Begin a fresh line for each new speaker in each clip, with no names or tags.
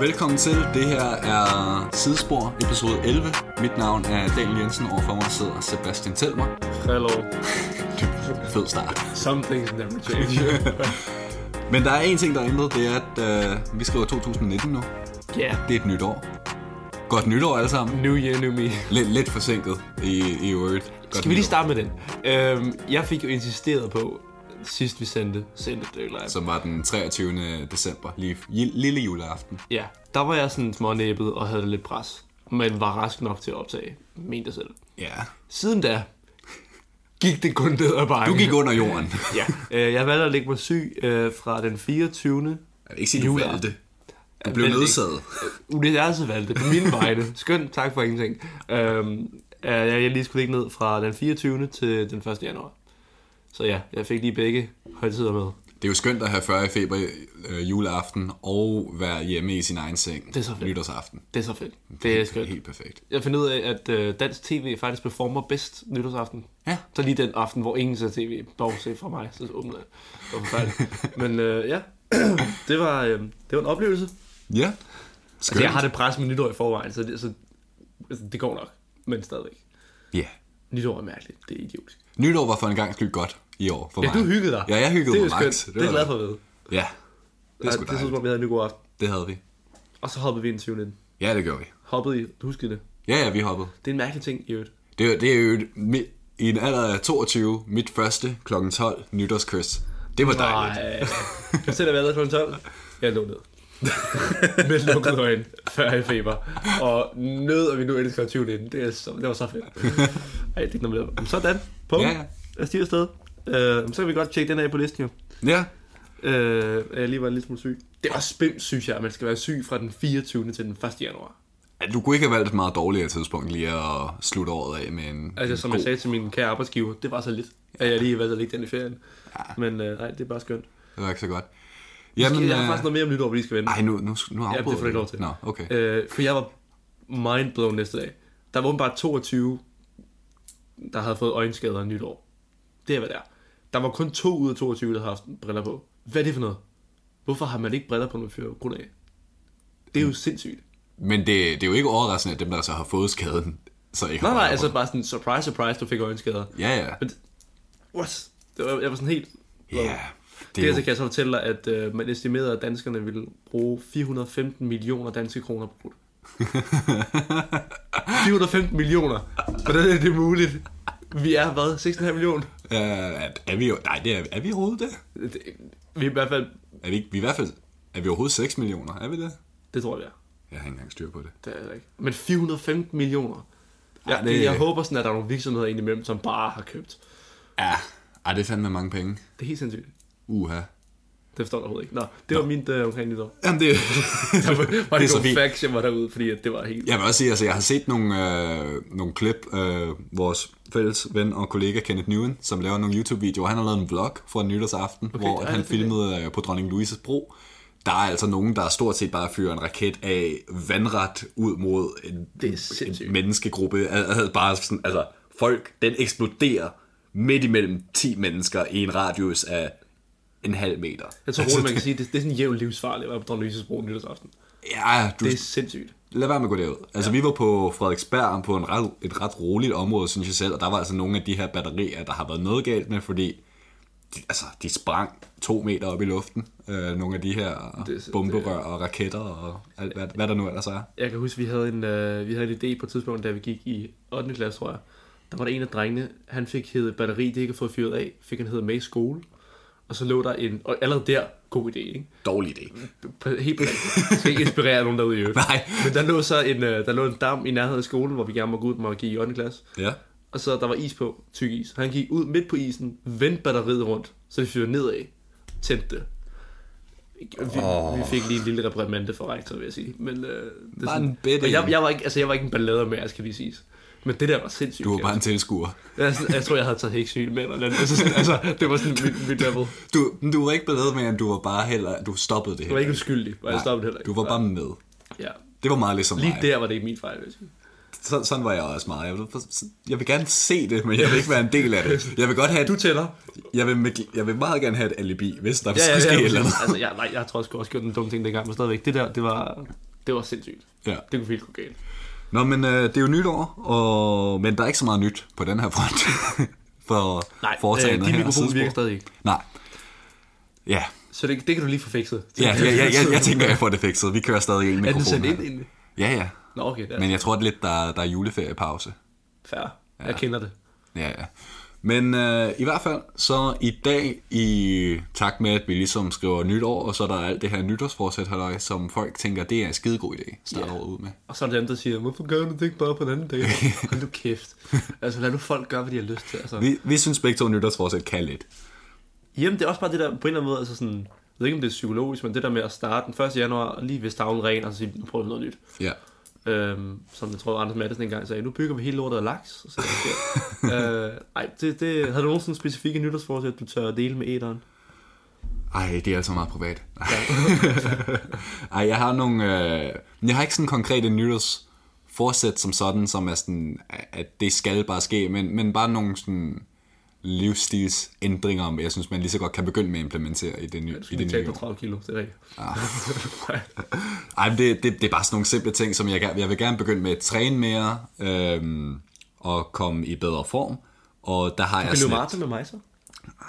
Velkommen til. Det her er Sidespor, episode 11. Mit navn er Daniel Jensen, overfor mig sidder Sebastian Telmer.
Hello.
Fed start.
Some things never change.
Men der er en ting, der er ændret, det er, at øh, vi skriver 2019 nu.
Yeah.
Det er et nyt år. Godt nytår alle sammen.
New year, new me.
Lidt, lidt forsinket i, i Word. Godt
Skal vi lige
nytår.
starte med den? Øhm, jeg fik jo insisteret på, sidst vi sendte, sendte det live. Så.
Som var den 23. december, lige j- lille juleaften.
Ja, der var jeg sådan smånæbet og havde det lidt pres. Men var rask nok til at optage, mente jeg selv.
Ja.
Siden da gik det kun ned ad bakken.
Du gik under jorden.
Ja, øh, jeg valgte at lægge mig syg øh, fra den 24.
Jeg vil ikke sige, du
Juleaften.
valgte. Du blev
valgte ikke.
nødsaget.
Universet valgte på min vegne. Skønt, tak for ingenting. Øhm, øh, jeg jeg lige skulle ligge ned fra den 24. til den 1. januar. Så ja, jeg fik lige begge højtider med.
Det er jo skønt at have 40 i feber øh, juleaften og være hjemme i sin egen seng
Det er så fedt.
nytårsaften.
Det er så fedt. Det er skønt.
Helt perfekt.
Jeg fandt ud af, at øh, dansk tv faktisk performer bedst nytårsaften.
Ja.
Så lige den aften, hvor ingen ser tv, bortset fra mig, så åbner jeg. Det var forfærdeligt. Men øh, ja, det var, øh, det var en oplevelse.
Ja. Skønt.
Altså, jeg har det pres med nytår i forvejen, så det, så, altså, det går nok. Men stadigvæk.
Ja.
Nytår er mærkeligt. Det er idiotisk.
Nytår var for en gang skyld godt i år for
Ja,
mig.
du hyggede dig.
Ja, jeg hyggede
det er
mig
jo
maks.
skønt. Det, er jeg glad for at vide.
Ja, det
Det
er
er
sgu
det er
dejligt.
som om, vi havde en god aften.
Det havde vi.
Og så hoppede vi ind i 20. nitten.
Ja, det gjorde vi.
Hoppede i, huskede det.
Ja, ja, vi hoppede.
Det er en mærkelig ting i øvrigt.
Det, er- det er jo et, mi- i en alder af 22, mit første kl. 12 nytårskys. Det var dejligt.
Nej. Jeg sætter været kl. 12. Jeg lå ned. Med lukkede øjne, før jeg feber. Og nød, og vi nu elsker 20. nitten. Det, er så, det var så fedt. Ej, det er ikke noget med det. Sådan. Pum.
Ja, ja.
Jeg stiger afsted. Øh, så kan vi godt tjekke den af på listen jo.
Ja,
Øh, at jeg lige var en lille smule syg. Det er også spændt, synes jeg, at man skal være syg fra den 24. til den 1. januar.
Ja, du kunne ikke have valgt et meget dårligere tidspunkt lige at slutte året af med en
Altså,
en
som
god...
jeg sagde til min kære arbejdsgiver, det var så lidt, at jeg lige valgte at lægge den i ferien.
Ah.
Ja. Men øh, nej, det er bare skønt.
Det var ikke så godt.
Jamen, jeg har
øh,
faktisk noget mere om nytår, vi lige skal vende.
Ej, nu, nu, nu afbryder
ja, det får du ikke lov til.
Nå, okay.
Øh, for jeg var mindblown næste dag. Der var åbenbart 22, der havde fået øjenskader nytår. Det er, hvad det er. Der var kun to ud af 22, der havde haft briller på. Hvad er det for noget? Hvorfor har man ikke briller på, når man fører grund af? Det er jo
Mm.
sindssygt.
Men det, det er jo ikke overraskende, at dem, der så har fået skaden, så ikke
Nej,
har briller
nej,
på.
altså bare sådan, surprise, surprise, du fik øjenskader.
Ja, ja.
Men, what? Det var, jeg var sådan helt...
Ja, det
Det
er
Dertil
jo...
kan jeg så fortælle dig, at øh, man estimerede, at danskerne ville bruge 415 millioner danske kroner på brudt. 415 millioner. Hvordan er det muligt? Vi er, hvad, 6,5 millioner?
Øh, er- er vi jo... Nej, det er, er vi overhovedet det?
Det- Vi er i hvert fald,
Er vi, ikke, vi er i hvert fald... Er vi overhovedet 6 millioner? Er vi det?
det tror jeg, vi er.
Jeg har ikke engang styr på det.
Det er jeg ikke. Men 415 millioner. Ja,
Ej, det-
det... Jeg håber sådan, at der er nogle virksomheder indimellem, som bare har købt.
Ja, ej, det er fandme mange penge.
Det er helt sindssygt.
Uha.
Det forstår jeg overhovedet ikke. Nå, det var mit øh, omkring nytår.
Jamen, det...
Der var, var
Det
det
er så
nogle
fint.
facts, jeg var derude, fordi at det var helt...
Jeg vil også sige, altså, jeg har set nogle, øh, nogle klip. Øh, vores fælles ven og kollega Kenneth Newen, som laver nogle YouTube-videoer, han har lavet en vlog fra nytårsaften, okay, hvor
ej,
at han
det er fedt.
filmede øh, på Dronning Louises Bro. Der er altså nogen, der stort set bare fyrer en raket af vandret ud mod en,
Det er sindssygt.
en menneskegruppe. Al- al- Bare sådan, altså, folk, den eksploderer midt imellem 10 mennesker i en radius af en halv meter. Altså,
Jeg tror roligt, man kan sige, at det, det er sådan en jævn livsfarlig at være på Dronning Louise's bro nytårsaften.
Ja, du
Det er sindssygt.
lad være med at gå derud. Altså, ja. vi var på Frederiksberg på en ret, et ret roligt område, synes jeg selv, og der var altså nogle af de her batterier, der har været noget galt med, fordi de, altså, de sprang to meter op i luften. Øh, nogle af de her
Det- det-
bomberør og raketter og alt, hvad, hvad der nu ellers er.
Jeg kan huske, vi havde en, øh, vi havde en idé på et tidspunkt, da vi gik i 8. klasse, tror jeg. Der var der en af drengene, han fik heddet batteri, det ikke har fået fyret af, fik han heddet med i skole. Og så lå der en, og allerede der, god idé, ikke?
Dårlig idé.
P- Helt blandt. Jeg skal ikke inspirere nogen derude i øvrigt.
Nej.
Men der lå så en, øh, der lå en dam i nærheden af skolen, hvor vi gerne måtte gå ud og give i 8. klasse.
Ja.
Og så der var is på, tyk is. Han gik ud midt på isen, vendte batteriet rundt, så det fyrede nedad, tændte det. Vi, oh. vi fik lige en lille reprimande fra rektor, vil jeg sige. Men, øh, det er
Bare en bitte
og jeg,
en.
jeg, var ikke, altså, jeg var ikke en ballader med, skal lige siges. Men det der var sindssygt.
Du var
fedt.
bare en tilskuer.
jeg, sådan, jeg tror, jeg havde taget hæksyl med eller andet. Altså, sådan, altså, det var sådan mit, mit level.
Du, men du var ikke beladet med, at du var bare heller... Du stoppede det
Jeg var
her.
ikke uskyldig, og jeg stoppede heller ikke.
Du var bare med.
Ja.
Det var meget ligesom
Lige
mig.
der var det ikke min fejl, vil jeg sige.
så, sådan var jeg også meget. Jeg vil, jeg vil gerne se det, men jeg vil ikke være en del af det. Jeg vil godt have
Du
et,
tæller.
jeg, vil, med- jeg vil meget gerne have et alibi, hvis der
Ja, ja,
skulle ske et
ja,
eller
ja.
andet.
Altså, jeg, nej, jeg tror også, jeg også gjort en dum ting dengang, men stadigvæk. Det der, det var, det var sindssygt.
Ja.
Det kunne virkelig gå galt.
Nå, men øh, det er jo nytår, og... men der er ikke så meget nyt på den her front. for
Nej,
foretagendet
øh,
her
de mikrofoner
Sidespor.
virker stadig ikke.
Nej. Ja,
Så det, det kan du lige få fikset.
ja, ja, ja, ja jeg tænker, jeg får det fikset. Vi kører stadig en
Er den
mikrofon.
sendt
her.
ind egentlig?
Ja, ja.
Nå, okay, det er
Men jeg tror, det er lidt, der, der er juleferiepause.
fair. Jeg kender det.
Ja, ja. Men øh, i hvert fald, så i dag, i takt med, at vi ligesom skriver nytår, og så er der alt det her nytårsforsæt, halløj, som folk tænker, det er en skidegod idé, starte
Ja.
yeah. året ud med.
Og så er der dem, der siger, hvorfor gør du det ikke bare på en anden dag? Hold nu kæft. Altså, lad nu folk gøre, hvad de har lyst til. Altså.
Vi, vi synes begge to, nytårsforsæt kan lidt.
Jamen, det er også bare det der, på en eller anden måde, altså sådan, jeg ved ikke, om det er psykologisk, men det der med at starte den 1. januar, og lige hvis tavlen ren, og så sige, nu prøver vi noget nyt.
Ja.
Øhm, som jeg tror, Anders Madsen engang sagde, nu bygger vi hele lortet af laks. Så sagde jeg, øh, ej, det, det, havde du nogensinde specifikke nytårsforsæt, du tør at dele med æderen?
Ej, det er altså meget privat. Ej, jeg har nogle... Øh, men jeg har ikke sådan konkrete nytårs forsæt som sådan, som er sådan, at det skal bare ske, men, men bare nogle sådan livsstilsændringer, men jeg synes, man lige så godt kan begynde med at implementere i det nye, i
I det
det nye Ah,
tager
år.
30 kilo, det er rigtigt.
Ej, men det, det, det er bare sådan nogle simple ting, som jeg, gerne- jeg vil gerne begynde med at træne mere, øhm, og komme i bedre form, og der har jeg
Kan du
sådan...
Martin med mig så?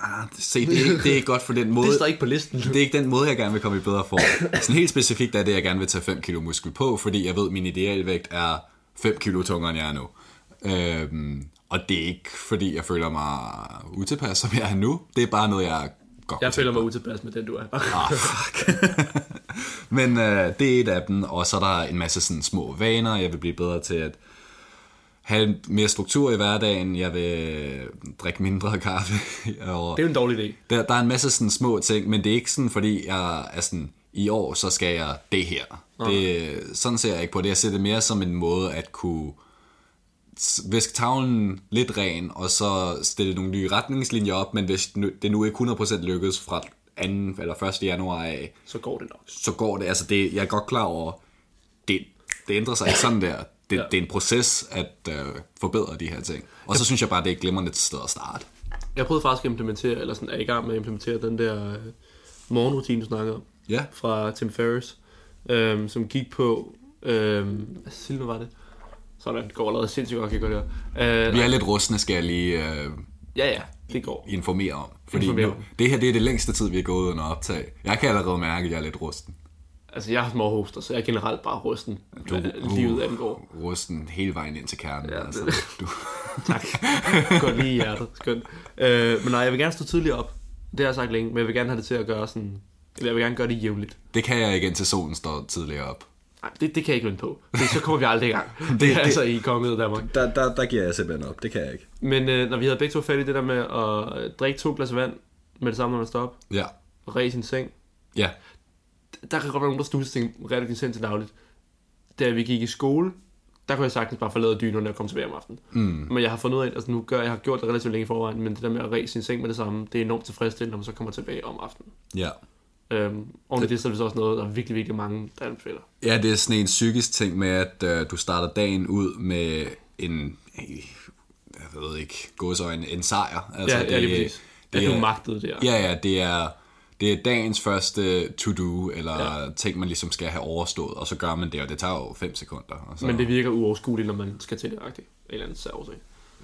Ah, se, det er, ikke, det er ikke godt for den måde...
Det står ikke på listen.
Det er ikke den måde, jeg gerne vil komme i bedre form. Sådan helt specifikt er det, jeg gerne vil tage 5 kilo muskel på, fordi jeg ved, at min idealvægt er 5 kilo tungere, end jeg er nu. Øhm, og det er ikke, fordi jeg føler mig utilpas, som jeg er nu. Det er bare noget, jeg godt
Jeg føler mig utilpas med den, du er.
Ah, fuck. Men øh, det er et af dem, og så er der en masse sådan små vaner, jeg vil blive bedre til at have mere struktur i hverdagen, jeg vil drikke mindre kaffe, og
Det er jo en dårlig idé.
der, der er en masse sådan små ting, men det er ikke sådan, fordi jeg er sådan, i år, så skal jeg det her. Det, sådan ser jeg ikke på det. Jeg ser det mere som en måde at kunne s- viske tavlen lidt ren, og så stille nogle nye retningslinjer op, men hvis nu- det nu ikke 100% lykkes fra 2. eller 1. januar af,
Så går det nok.
så går det, altså det, jeg er godt klar over, det, det ændrer sig ikke sådan der. Det,
Ja.
det er en proces at øh, forbedre de her ting. Og så synes jeg bare, det er et glimrende sted at starte.
Jeg prøvede faktisk at implementere, eller sådan er i gang med at implementere den der øh, morgenrutine, du snakkede om,
Ja.
fra Tim Ferriss, øhm, som gik på, øhm, hvad silver var det? Sådan, det går allerede sindssygt godt, kan jeg godt høre. Øh,
Vi er lidt rustne, skal jeg lige... Øh,
ja, ja, det går.
informere om. Fordi
Informere
nu,
om.
det her det er det længste tid, vi er gået under optag. Jeg kan allerede mærke, at jeg er lidt rusten.
Altså, jeg har småhoster, så jeg er generelt bare rusten,
Du-
du, uh, livet angår.
Rusten hele vejen ind til kernen. Ja,
Ja,
altså.
det-
du,
Tak. Godt lige i hjertet. Skønt. Øh, men nej, jeg vil gerne stå tidligere op. Det har jeg sagt længe, men jeg vil gerne have det til at gøre sådan... Eller jeg vil gerne gøre det jævnligt.
det kan jeg ikke, indtil solen står tidligere op.
Nej, det, det kan jeg ikke vinde på. Det, så kommer vi aldrig i gang. det,
det-
er altså i kongeriget Danmark.
Der, der, der giver jeg simpelthen op. Det kan jeg ikke.
Men øh, når vi havde begge to fat i det der med at øh, drikke to glas vand med det samme, når man står op,
Ja.
og ræse sin seng,
Ja.
der kan godt være nogen, der studser ting, redder din seng til dagligt. Da vi gik i skole, der kunne jeg sagtens bare forlade dynerne og komme tilbage om aftenen. Mm. Men jeg har fundet ud af, at altså nu gør, jeg har gjort det relativt længe i forvejen, men det der med at ræse sin seng med det samme, det er enormt tilfredsstillende, når man så kommer tilbage om aftenen.
Ja.
Øhm, og det, så er det så også noget, der er virkelig, virkelig mange, der anbefaler.
Ja, det er sådan en psykisk ting med, at øh, du starter dagen ud med en, jeg ved ikke, gåsøjne, en sejr. Altså,
Ja, ja, lige præcis. Det, det er, du magtede der.
Ja, ja, det er, det er dagens første to-do, eller ja. ting, man ligesom skal have overstået, og så gør man det, og det tager jo 5 sekunder. Og så,
Men det virker uoverskueligt, når man skal til det, agtigt. En eller anden sær årsag.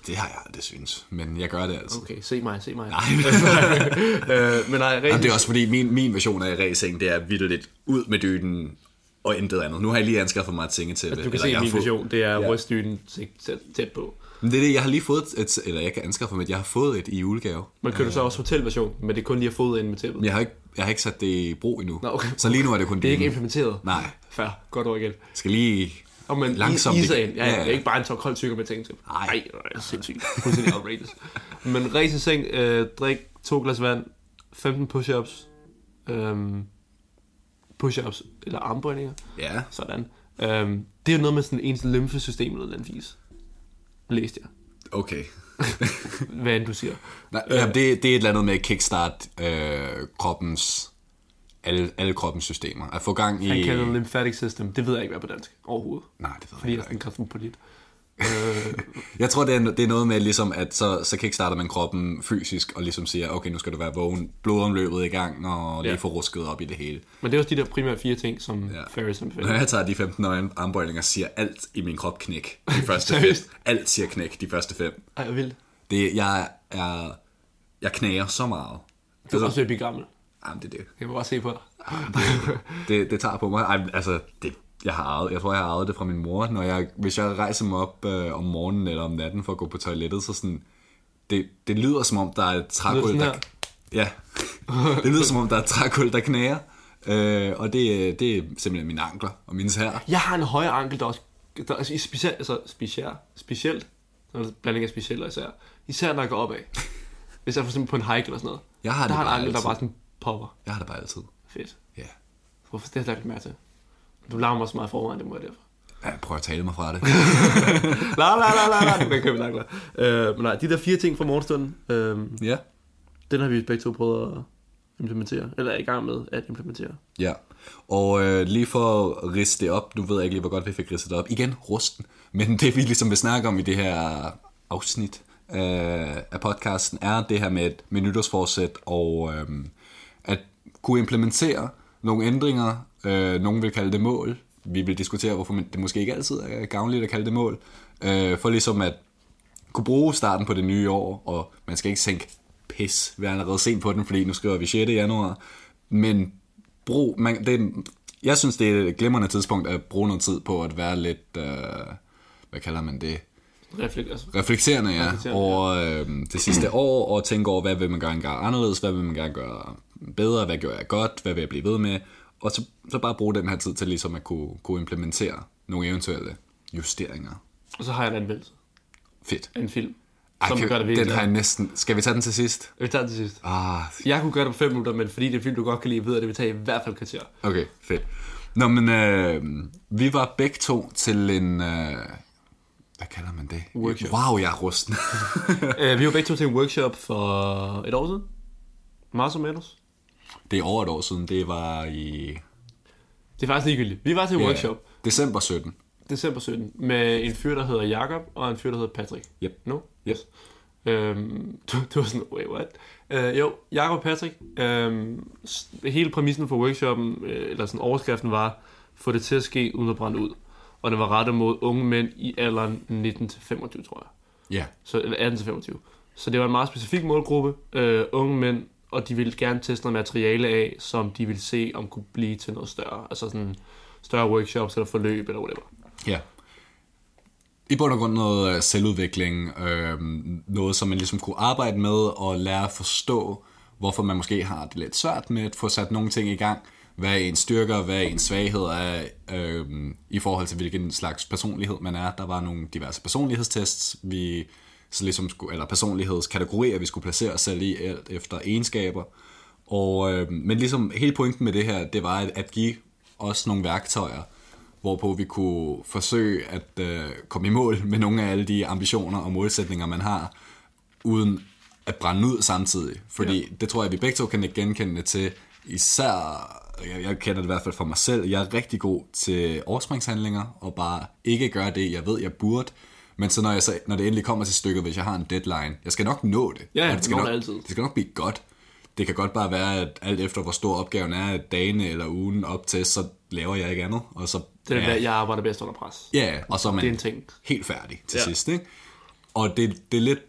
det har jeg aldrig synes, men jeg gør det altså.
Okay, se mig, se mig.
Nej,
øh, men nej, rigtig,
men det er også fordi, min, min version af racing, det er lidt ud med dynen og intet andet. Nu har jeg lige anskaffet mig et tinge til det.
Altså, du kan
eller jeg
se
har
min
fået-
vision, det er ja. rystdynen tæt, tæt, tæt på.
Men det er det, jeg har lige fået et, eller jeg kan anskaffe mig et, jeg har fået et i julegave.
Man kører så også hotelversion, men det er kun lige at fodre ind med tæppet.
Men jeg har ikke, jeg har ikke sat det i brug endnu.
Nå, okay.
Så lige nu er det kun
Det er ikke
dynen.
implementeret.
mm. Nej,
Fair. Godt ord igen.
skal lige...
Og man
Langsomt,
Langsomt. I,
det-
iser ind. Ja,
ja,
ja,
ja.
Det er ikke bare en tår kold tykker med ting til.
Nej.
Nej, det er sindssygt. Fuldstændig outrageous. Men ræs i seng, øh, drik to glas vand, 15 push-ups, øhm, push-ups eller armbøjninger,
Ja,
sådan. Øhm, det er jo noget med sådan ens lymfesystem eller den vis. Læste jeg.
okay.
Hvad end du siger.
Nej, øh, det, det er et eller andet med at kickstart øh, kroppens, alle, alle kroppens systemer. At få gang i...
Han kalder det lymphatic system. Det ved jeg ikke, hvad er på dansk overhovedet.
Nej, det ved jeg
Fordi jeg
ikke.
er sådan kosmopolit. Øh,
Jeg tror, det er, det er noget med, ligesom, at så, så kickstarter man kroppen fysisk, og ligesom siger, okay, nu skal du være vågen, blodomløbet er i gang, og lige
Ja.
få rusket op i det hele.
Men det er også de der primære fire ting, som ja. Ferris
Når
anbefaler.
jeg tager de 15 øjen- armbøjninger, siger alt i min krop knæk. De første fem.
Seriøst?
Alt siger knæk, de første fem.
Ej, jeg vil.
Det, jeg er... Jeg knager så meget.
Du er også ved at blive gammel.
Jamen, det er det.
Jeg må bare se på dig.
det, det tager på mig. Ej, altså, det, jeg, har arvet, jeg tror, jeg har arvet det fra min mor. Når jeg, hvis jeg rejser mig op øh, om morgenen eller om natten for at gå på toilettet, så sådan, det, det lyder som om, der er et trækul,
sådan
der...
her?
Ja, det lyder som om, der er et trækul, der knager. Øh, og det, det er simpelthen mine ankler og mine her.
Jeg har en højere ankel, der også... Der, altså, specielt, altså, specielt, specielt, altså, blanding af specielt og især. Især, når jeg går opad. Hvis jeg er for eksempel på en hike eller sådan noget.
Jeg har
der
det
har en
bare
ankel, der
altid.
bare sådan popper.
Jeg har det bare altid.
Fedt.
Ja.
Hvorfor det har jeg lagt mærke til? Du larmer så meget forvejen, det må jeg derfor.
Ja, Jeg prøver at tale mig fra det.
La la la la la, du kan købe en ankler. Øh, men nej, de der fire ting fra morgenstunden, øh,
ja.
den har vi begge to prøvet at implementere, eller er i gang med at implementere.
Ja, og øh, lige for at riste det op, nu ved jeg ikke lige, hvor godt vi fik ristet det op. Igen, rusten. Men det vi ligesom vil snakke om i det her afsnit øh, af podcasten, er det her med, med nytårsforsæt og øh, at kunne implementere nogle ændringer. Øh, nogen vil kalde det mål. Vi vil diskutere, hvorfor man, det måske ikke altid er gavnligt at kalde det mål. Øh, for ligesom at kunne bruge starten på det nye år, og man skal ikke tænke, pis, vi er allerede sent på den, fordi nu skriver vi 6. januar. Men brug, man, det, er- jeg synes, det er et glimrende tidspunkt at bruge noget tid på at være lidt, øh, hvad kalder man det,
Reflekt, altså.
reflekterende, ja,
Reflekterende, ja.
over øh, det sidste år, og tænke over, hvad vil man gerne gøre anderledes, hvad vil man gerne gøre bedre, hvad gør jeg godt, hvad vil jeg blive ved med, og så, så bare bruge den her tid til ligesom at kunne, kunne implementere nogle eventuelle justeringer.
Og så har jeg en anmeldelse
Fedt.
af en film,
Ej,
som
kan-
gør det virkelig.
den har jeg næsten... Skal vi tage den til sidst?
Vi tager det til sidst.
Ah,
Jeg kunne gøre det på 5 minutter, men fordi det er en film, du godt kan lide, ved jeg, at det vil tage i hvert fald et kvarter.
okay, fedt. Nå, men øh, vi var begge to til en... Øh, hvad kalder man det?
Workshop.
Wow, jeg er rusten.
uh, vi var begge to til en workshop for et år siden. Mars og Manus.
det er over et år siden. Det var i...
Det er faktisk ligegyldigt. Vi var til en workshop
Ja, december 17.
december 17 med en fyr, der hedder Jakob og en fyr, der hedder Patrick.
Yep.
No?
Yep.
Øhm, du, du var sådan, wait, what? Øh, jo, Jakob og Patrick, øhm, s- hele præmissen for workshoppen, øh, eller sådan overskriften var, få det til at ske uden at brænde ud. Og den var rettet mod unge mænd i alderen 19-25, tror jeg.
Ja,
Så, eller 18-25. Så det var en meget specifik målgruppe, øh, unge mænd, og de ville gerne teste noget materiale af, som de ville se, om kunne blive til noget større. Altså sådan større workshops eller forløb eller whatever.
ja. I bund og grund noget øh, selvudvikling. Øh, noget, som man ligesom kunne arbejde med og lære at forstå, hvorfor man måske har det lidt svært med at få sat nogle ting i gang. Hvad er ens styrker, hvad er ens svagheder er, øh, i forhold til hvilken slags personlighed man er. Der var nogle diverse personlighedstests, vi så ligesom skulle, eller personlighedskategorier, vi skulle placere os selv i alt efter egenskaber. Og, øh, men ligesom hele pointen med det her, det var at, at give os nogle værktøjer, hvorpå vi kunne forsøge at øh, komme i mål med nogle af alle de ambitioner og målsætninger, man har, uden at brænde ud samtidig. Fordi ja. det tror jeg, vi begge to kan ikke genkende til, især, jeg, jeg kender det i hvert fald for mig selv, jeg er rigtig god til overspringshandlinger, og bare ikke gøre det, jeg ved, jeg burde. Men så når, jeg så når det endelig kommer til stykket, hvis jeg har en deadline, jeg skal nok nå det.
Ja, ja,
og
du
det skal
når
nok,
det altid.
det skal nok blive godt. Det kan godt bare være, at alt efter hvor stor opgaven er, at dagene eller ugen op til, så laver jeg ikke andet. Og så,
Det er
ja,
ja. der, jeg arbejder bedst under pres.
Ja, og så er man
Det er en ting.
helt færdig til
Ja.
ja. sidst. Ikke? Og det, det er lidt...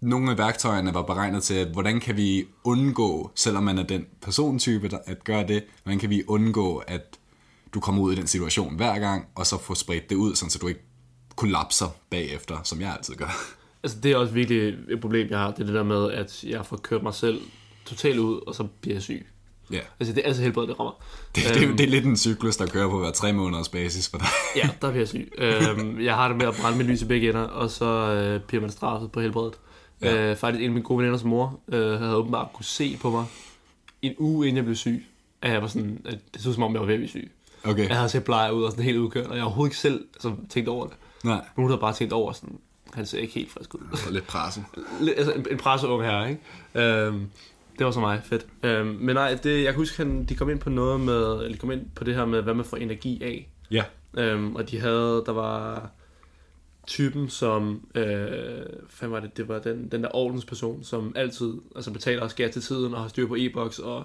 Nogle af værktøjerne var beregnet til, at hvordan kan vi undgå, selvom man er den persontype, der at gøre det, hvordan kan vi undgå, at du kommer ud i den situation hver gang, og så få spredt det ud, sådan så du ikke kollapser bagefter, som jeg altid gør.
Altså, det er også virkelig et problem, jeg har. Det er det der med, at jeg får kørt mig selv totalt ud, og så bliver jeg syg.
Ja.
Altså, det er altså helbredet, det rammer.
Det, det, det er lidt en cyklus, der kører på hver tre måneders basis for dig.
Øh, Ja, der bliver jeg syg. øhm, jeg har det med at brænde mit lys i begge ender, og så øh, bliver man straffet på helbredet. Ja.
Ja.
Øh, faktisk en af mine gode veninders mor øh, havde åbenbart kunne se på mig en uge inden jeg blev syg, at jeg var sådan, at det så ud som om, jeg var ved at blive syg.
Okay.
Jeg havde set bleget ud og sådan helt udkørt, og jeg har overhovedet ikke selv altså, tænkt over det.
Nej.
Men hun havde bare tænkt over sådan, han ser ikke helt frisk ud.
Og lidt presset.
Lidt- altså en, en presseung her, ikke? Øhm, det var så meget fedt. Øhm, men nej, det, jeg kan huske, han, de kom ind på noget med, eller de kom ind på det her med, hvad man får energi af.
Ja.
Øhm, og de havde, der var typen, som... Øh, hvad var det? Det var den, den der ordensperson, som altid altså betaler skat til tiden og har styr på e-boks, og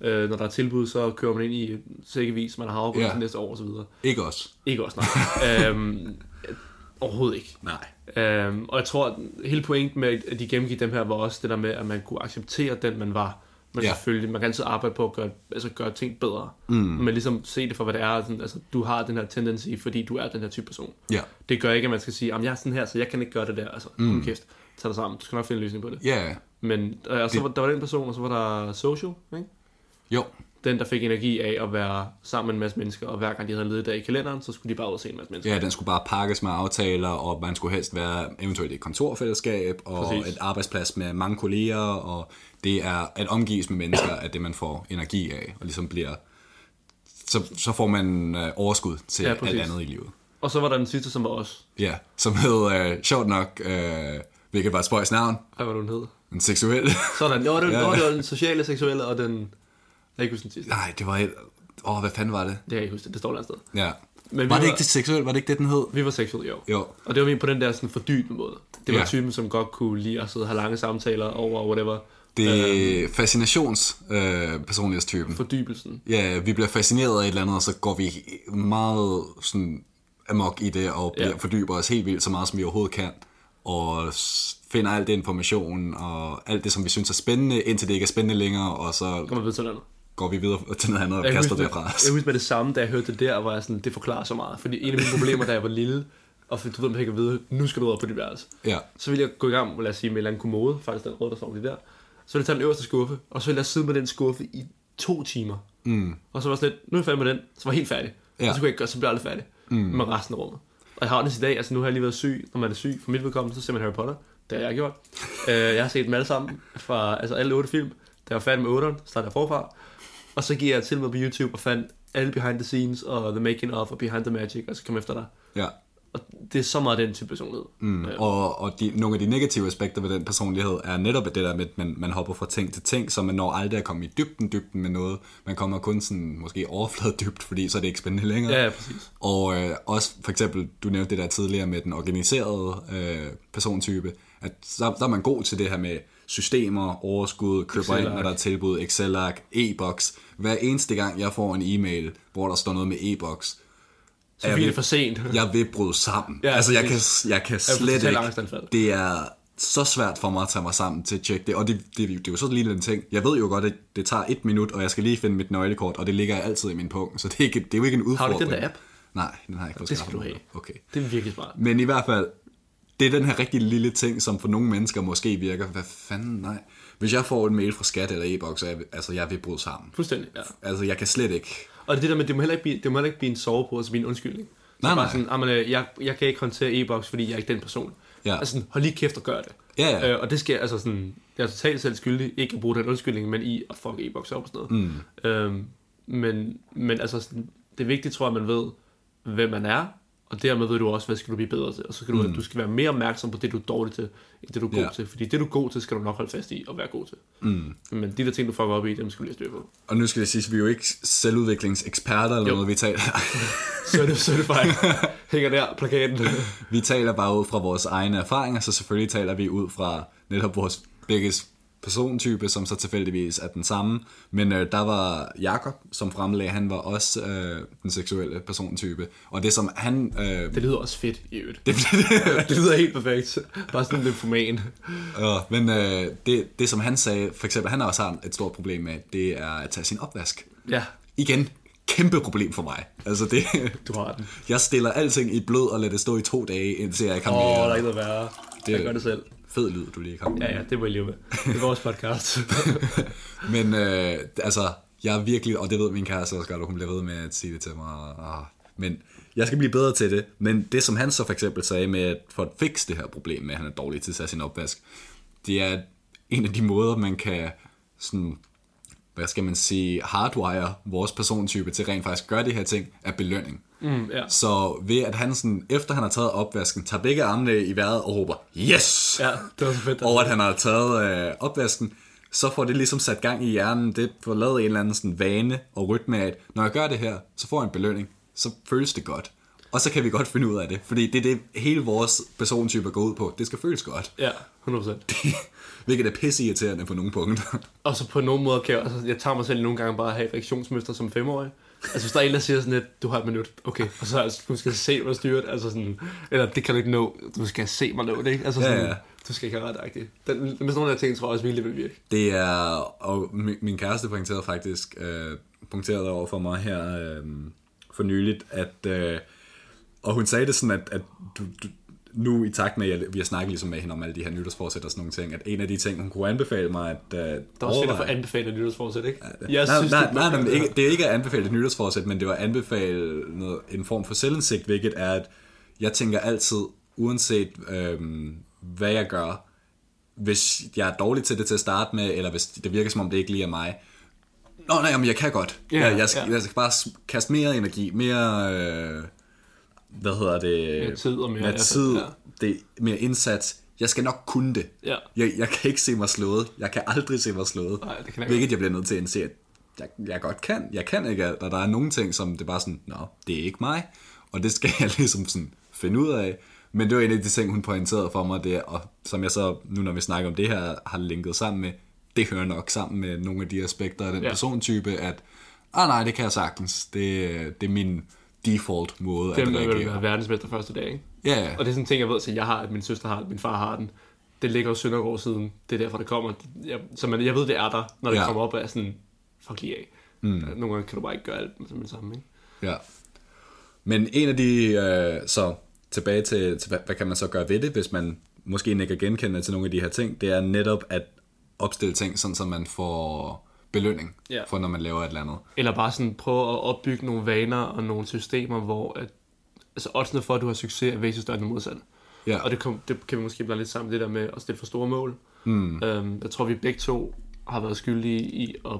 øh, når der er tilbud, så kører man ind i sækkevis, man har afgået
Ja.
yeah. til næste år osv.
Ikke os.
Ikke også, nej. øhm, overhovedet ikke.
Nej.
Øhm, og jeg tror, at hele pointen med, at de gennemgik dem her, var også det der med, at man kunne acceptere den, man var. Men
Ja.
ja. selvfølgelig, man kan altid arbejde på at gøre, altså gøre ting bedre. Mm. Men ligesom se det for, hvad det er. Sådan, altså, du har den her tendens i, fordi du er den her type person.
Ja.
Det gør ikke, at man skal sige, at jeg er sådan her, så jeg kan ikke gøre det der. Altså, mm. kæft, tag dig sammen. Du skal nok finde en løsning på det.
Ja, ja.
Men øh, og så var, der var den person, og så var der social, ikke?
jo.
Den, der fik energi af at være sammen med en masse mennesker, og hver gang de havde ledet der i kalenderen, så skulle de bare ud og se en masse mennesker.
Ja, den skulle bare pakkes med aftaler, og man skulle helst være eventuelt i et kontorfællesskab, og Præcis.
Præcis.
et arbejdsplads med mange kolleger, og det er at omgives med mennesker, at det man får energi af, og ligesom bliver... Så, så får man øh, overskud til
Ja,
ja,
præcis.
alt andet i livet.
Og så var der den sidste, som var os.
Ja, som hed, øh, sjovt nok, øh, hvilket var et spøjs navn,
Hvad var det, hun hed?
en seksuel...
Sådan, jo, det,
Ja.
ja. jo, det var den sociale, seksuelle og den... Jeg kan ikke huske den sidste.
Nej, det var et... Åh, oh, hvad fanden var det?
Det kan jeg ikke huske, det står et eller andet sted.
Ja.
Men
var
vi
det
var-
ikke det seksuelle? Var det ikke det, den hed?
Vi var seksuelle, jo.
Jo.
Og det var vi på den der sådan fordybende måde. Det var
Ja.
ja. typen, som godt kunne lide at sidde og have lange samtaler over whatever.
Det er fascinations-personlighedstypen.
Fordybelsen.
ja, vi bliver fascineret af et eller andet, og så går vi meget sådan amok i det, og bliver, ja.
Ja.
fordyber os helt vildt så meget, som vi overhovedet kan, og s- finder alt det information, og alt det, som vi synes er spændende, indtil det ikke er spændende længere, og så
Kommer vi videre til noget andet.
går vi videre til noget andet og
Jeg
kaster
husker-
det fra os.
Jeg husker med det samme, da jeg hørte det der, var jeg sådan, det forklarer så meget. Fordi en af mine problemer, da jeg var lille, og du ved, man ikke at vide, nu skal du ud på dit værelse.
Ja.
Så ville jeg gå i gang med, lad os sige, med en eller anden kommode, faktisk den røde, der står lige der. Så ville jeg tage den øverste skuffe, og så ville jeg sidde med den skuffe i to timer. Mm. Og så var jeg sådan lidt, nu er jeg færdig med den, så var jeg helt færdig.
Ja.
Ja. Og så kunne jeg ikke gøre, så blev jeg aldrig færdig mm. med resten af rummet. Og jeg har det i dag, altså nu har jeg lige været syg, når man er syg, for mit vedkommende, så ser man Harry Potter, det har jeg gjort. Øh, jeg har set dem alle sammen, fra altså alle otte film, da jeg var færdig med otteren, startede jeg forfra. Og så gik jeg til mig på YouTube og fandt alle behind the scenes og the making of og behind the magic, og så kom jeg efter dig.
Ja.
Og det er så meget den type personlighed. Mm. Øh,
Og, og de, nogle af de negative aspekter ved den personlighed er netop det der med, at man, man hopper fra ting til ting, så man når aldrig at komme i dybden dybden med noget. Man kommer kun sådan måske overfladedybt, fordi så er det ikke spændende længere.
ja, ja, præcis.
Og øh, også for eksempel, du nævnte det der tidligere med den organiserede øh, persontype, at så, så er man god til det her med systemer, overskud, køber ind, når der er tilbud, Excel-ark, e-boks. Hver eneste gang, jeg får en e-mail, hvor der står noget med e-boks,
Så
Ja,
vi er
vi-
det for sent.
jeg vil bryde sammen. Ja,
Ja,
altså, jeg kan,
præcis.
jeg kan
Jeg er
slet
totalt
ikke.
angstanfald.
Det er så svært for mig at tage mig sammen til at tjekke det, og det, det, det er jo sådan en lille ting. Jeg ved jo godt, at det tager et minut, og jeg skal lige finde mit nøglekort, og det ligger altid i min punkt, så det er, ikke, det er jo ikke en
Har du
udfordring.
ikke den der app?
Nej, den har jeg ikke fået
Det
skaffet
skal du
mig.
have.
Okay.
Det er virkelig smart.
Men i hvert fald, det er den her rigtig lille ting, som for nogle mennesker måske virker, hvad fanden, nej. Hvis jeg får en mail fra skat eller e-boks, er jeg, altså jeg vil bryde sammen.
Fuldstændig, ja.
Altså jeg kan slet ikke.
Og det er det der med, det må heller ikke blive, det må heller ikke blive en sovepude, altså blive en undskyldning. Så
Nej,
bare
nej.
sådan, "Ah, men, øh, jeg, jeg kan ikke håndtere e-boks, fordi jeg er ikke den person.
Ja.
Altså sådan, hold lige kæft og gør det.
Ja, ja.
Øh, og det sker, altså sådan, jeg er totalt selv skyldig, ikke at bruge den undskyldning, men i at fuck e-boks op og sådan noget. Mm. Øhm, men, men altså sådan, det er vigtigt, tror jeg, at man ved, hvem man er, og dermed ved du også, hvad skal du blive bedre til. Og så skal du, mm. du skal være mere opmærksom på det, du er dårlig til, end det, du er god
Ja.
til. Fordi det, du er god til, skal du nok holde fast i og være god til. Mm. Men de der ting, du fucker op i, dem skal du lige have styr på.
Og nu skal det siges, vi er jo ikke selvudviklingseksperter eller jo.
Jo.
noget, vi taler.
så er det, så er det fejl. Hænger der plakaten.
vi taler bare ud fra vores egne erfaringer, så selvfølgelig taler vi ud fra netop vores begges persontype, som så tilfældigvis er den samme. Men øh, der var Jakob, som fremlagde, han var også øh, den seksuelle persontype. Og det som han... Øh,
Det lyder også fedt i øvrigt. Det, det lyder helt perfekt. Bare sådan lidt forman.
Ja, men øh, det, det, som han sagde, for eksempel, han har også har et stort problem med, det er at tage sin opvask.
Ja,
Igen, kæmpe problem for mig. Altså det,
du har den.
jeg stiller alting i blød og lader det stå i to dage, indtil jeg ikke har
Åh, oh, der er
mere.
ikke noget værre. Det, jeg gør det selv.
Fed lyd, du lige kom med.
Ja, ja, det må I leve med. Det er vores podcast.
Men øh, altså, jeg er virkelig, og det ved min kæreste også godt, og hun bliver ved med at sige det til mig. og- Ah, men jeg skal blive bedre til det. Men det, som han så for eksempel sagde med, at for at fikse det her problem med, at han er dårlig til at tage sin opvask, det er en af de måder, man kan sådan, hvad skal man sige, hardwire vores persontype til rent faktisk at gøre de her ting, er belønning.
Mm, ja.
Så ved at han sådan, efter han har taget opvasken, tager begge armene i vejret og råber, yes!
ja, det var så fedt. altså.
over at han har taget øh, opvasken, så får det ligesom sat gang i hjernen. Det får lavet en eller anden sådan vane og rytme af, at når jeg gør det her, så får jeg en belønning. Så føles det godt. Og så kan vi godt finde ud af det, fordi det er det, hele vores persontype går ud på. Det skal føles godt,
Ja, 100%.
hvilket er pisse irriterende på nogle punkter.
Og så på nogen måde kan jeg, altså, jeg tager mig selv nogle gange bare at have reaktionsmønster som femårig. Altså hvis der er en, der siger sådan lidt, du har et minut, okay, og så altså, du skal se mig styret, altså sådan, eller det kan du ikke nå, du skal se mig nå det, ikke? Altså
Ja,
sådan, ja,
ja.
ja. du skal ikke have ret agtigt. Den, men sådan nogle af de ting, tror jeg også virkelig vil virke.
Det er, og min, min kæreste pointerede faktisk, øh, pointerede over for mig her øh, for nyligt, at, øh, og hun sagde det sådan, at, at du, du, nu i takt med, at jeg- vi har snakket ligesom med hende om alle de her nytårsforsæt og sådan nogle ting, at en af de ting, hun kunne anbefale mig, at øh,
Der er også fedt at få anbefalet nytårsforsæt, ikke? Jeg
nej,
synes,
nej,
det,
nej, nej, men ikke, det er ikke at anbefale et nytårsforsæt, men det var at anbefale noget, en form for selvindsigt, hvilket er, at jeg tænker altid, uanset øhm, hvad jeg gør, hvis jeg er dårlig til det til at starte med, eller hvis det virker som om det ikke lige er mig, Nå nej, men jeg kan godt.
Ja,
jeg, jeg, skal,
ja.
jeg skal bare s- kaste mere energi, mere... Øh, hvad hedder det?
Mere tid og mere-
mere,
ja,
tid,
ja.
det, mere indsats. Jeg skal nok kunne det.
Ja.
Jeg, jeg kan ikke se mig slået. Jeg kan aldrig se mig slået.
Nej, det kan jeg ikke.
Hvilket jeg bliver nødt til at indse, at jeg, jeg godt kan. Jeg kan ikke alt, og der er nogle ting, som det er bare sådan, nå, det er ikke mig, og det skal jeg ligesom sådan finde ud af. Men det var en af de ting, hun pointerede for mig, det, og som jeg så, nu når vi snakker om det her, har linket sammen med, det hører nok sammen med nogle af de aspekter af den ja.
Ja.
persontype, at, ah nej, det kan jeg sagtens, det, det er min default måde
Dem,
at
der vil
reagere.
være verdensmester første dag, ikke?
Ja, ja.
Og det er sådan en ting, jeg ved, at jeg har, at min søster har, at min far har den. Det ligger jo Søndergaard siden. Det er derfor, det kommer. Jeg, så man, jeg ved, det er der, når det
Ja.
ja. kommer op af sådan, fuck lige af. Mm. Nogle gange kan du bare ikke gøre alt med det samme, ikke?
Ja. Men en af de, øh, så tilbage til, til hvad, hvad kan man så gøre ved det, hvis man måske ikke er genkendende til nogle af de her ting, det er netop at opstille ting, sådan så man får belønning
Ja.
for, når man laver et eller andet.
Eller bare sådan prøve at opbygge nogle vaner og nogle systemer, hvor at, altså oddsene for, at du har succes, er væsentligt større end det modsatte.
Ja,
Og det, kom, det kan vi måske blande lidt sammen, det der med at stille for store mål. Mm. Øhm, jeg tror, vi begge to har været skyldige i at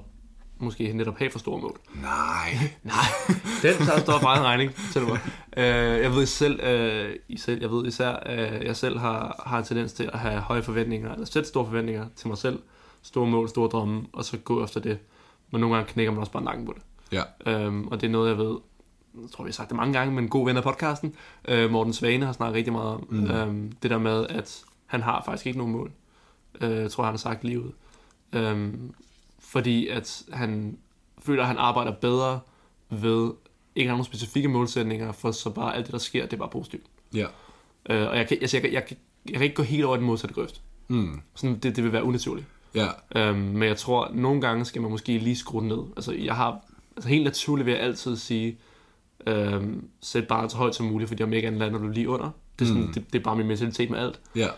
måske netop have for store mål.
nej.
Nej, den tager stor for egen regning, til mig. Øh, jeg ved selv, øh, I selv, jeg ved især, øh, jeg selv har, har en tendens til at have høje forventninger, eller sætte store forventninger til mig selv, store mål, store drømme, og så gå efter det. Men nogle gange knækker man også bare nakken på det.
Ja,
Øhm, og det er noget, jeg ved, jeg tror, vi har sagt det mange gange, men en god ven af podcasten, øh, Morten Svane, har snakket rigtig meget om. Mm. Øhm, det der med, at han har faktisk ikke nogen mål. Øh, jeg tror, han har sagt livet. Øhm, fordi at han føler, at han arbejder bedre ved ikke at have nogen specifikke målsætninger, for så bare alt det, der sker, det er bare positivt.
ja,
Øh, og jeg kan, altså, jeg, kan- jeg, kan- jeg kan ikke gå helt over i den modsatte grøft.
mm,
Sådan, det, det vil være unaturligt.
ja,
Øhm, men jeg tror, at nogle gange skal man måske lige skrue den ned. Altså, jeg har, altså helt naturligt vil jeg altid sige, øhm, sæt bare så højt som muligt, fordi om ikke andet lander du lige under. Det er, sådan, mm. det, det er bare min mentalitet med alt.
ja,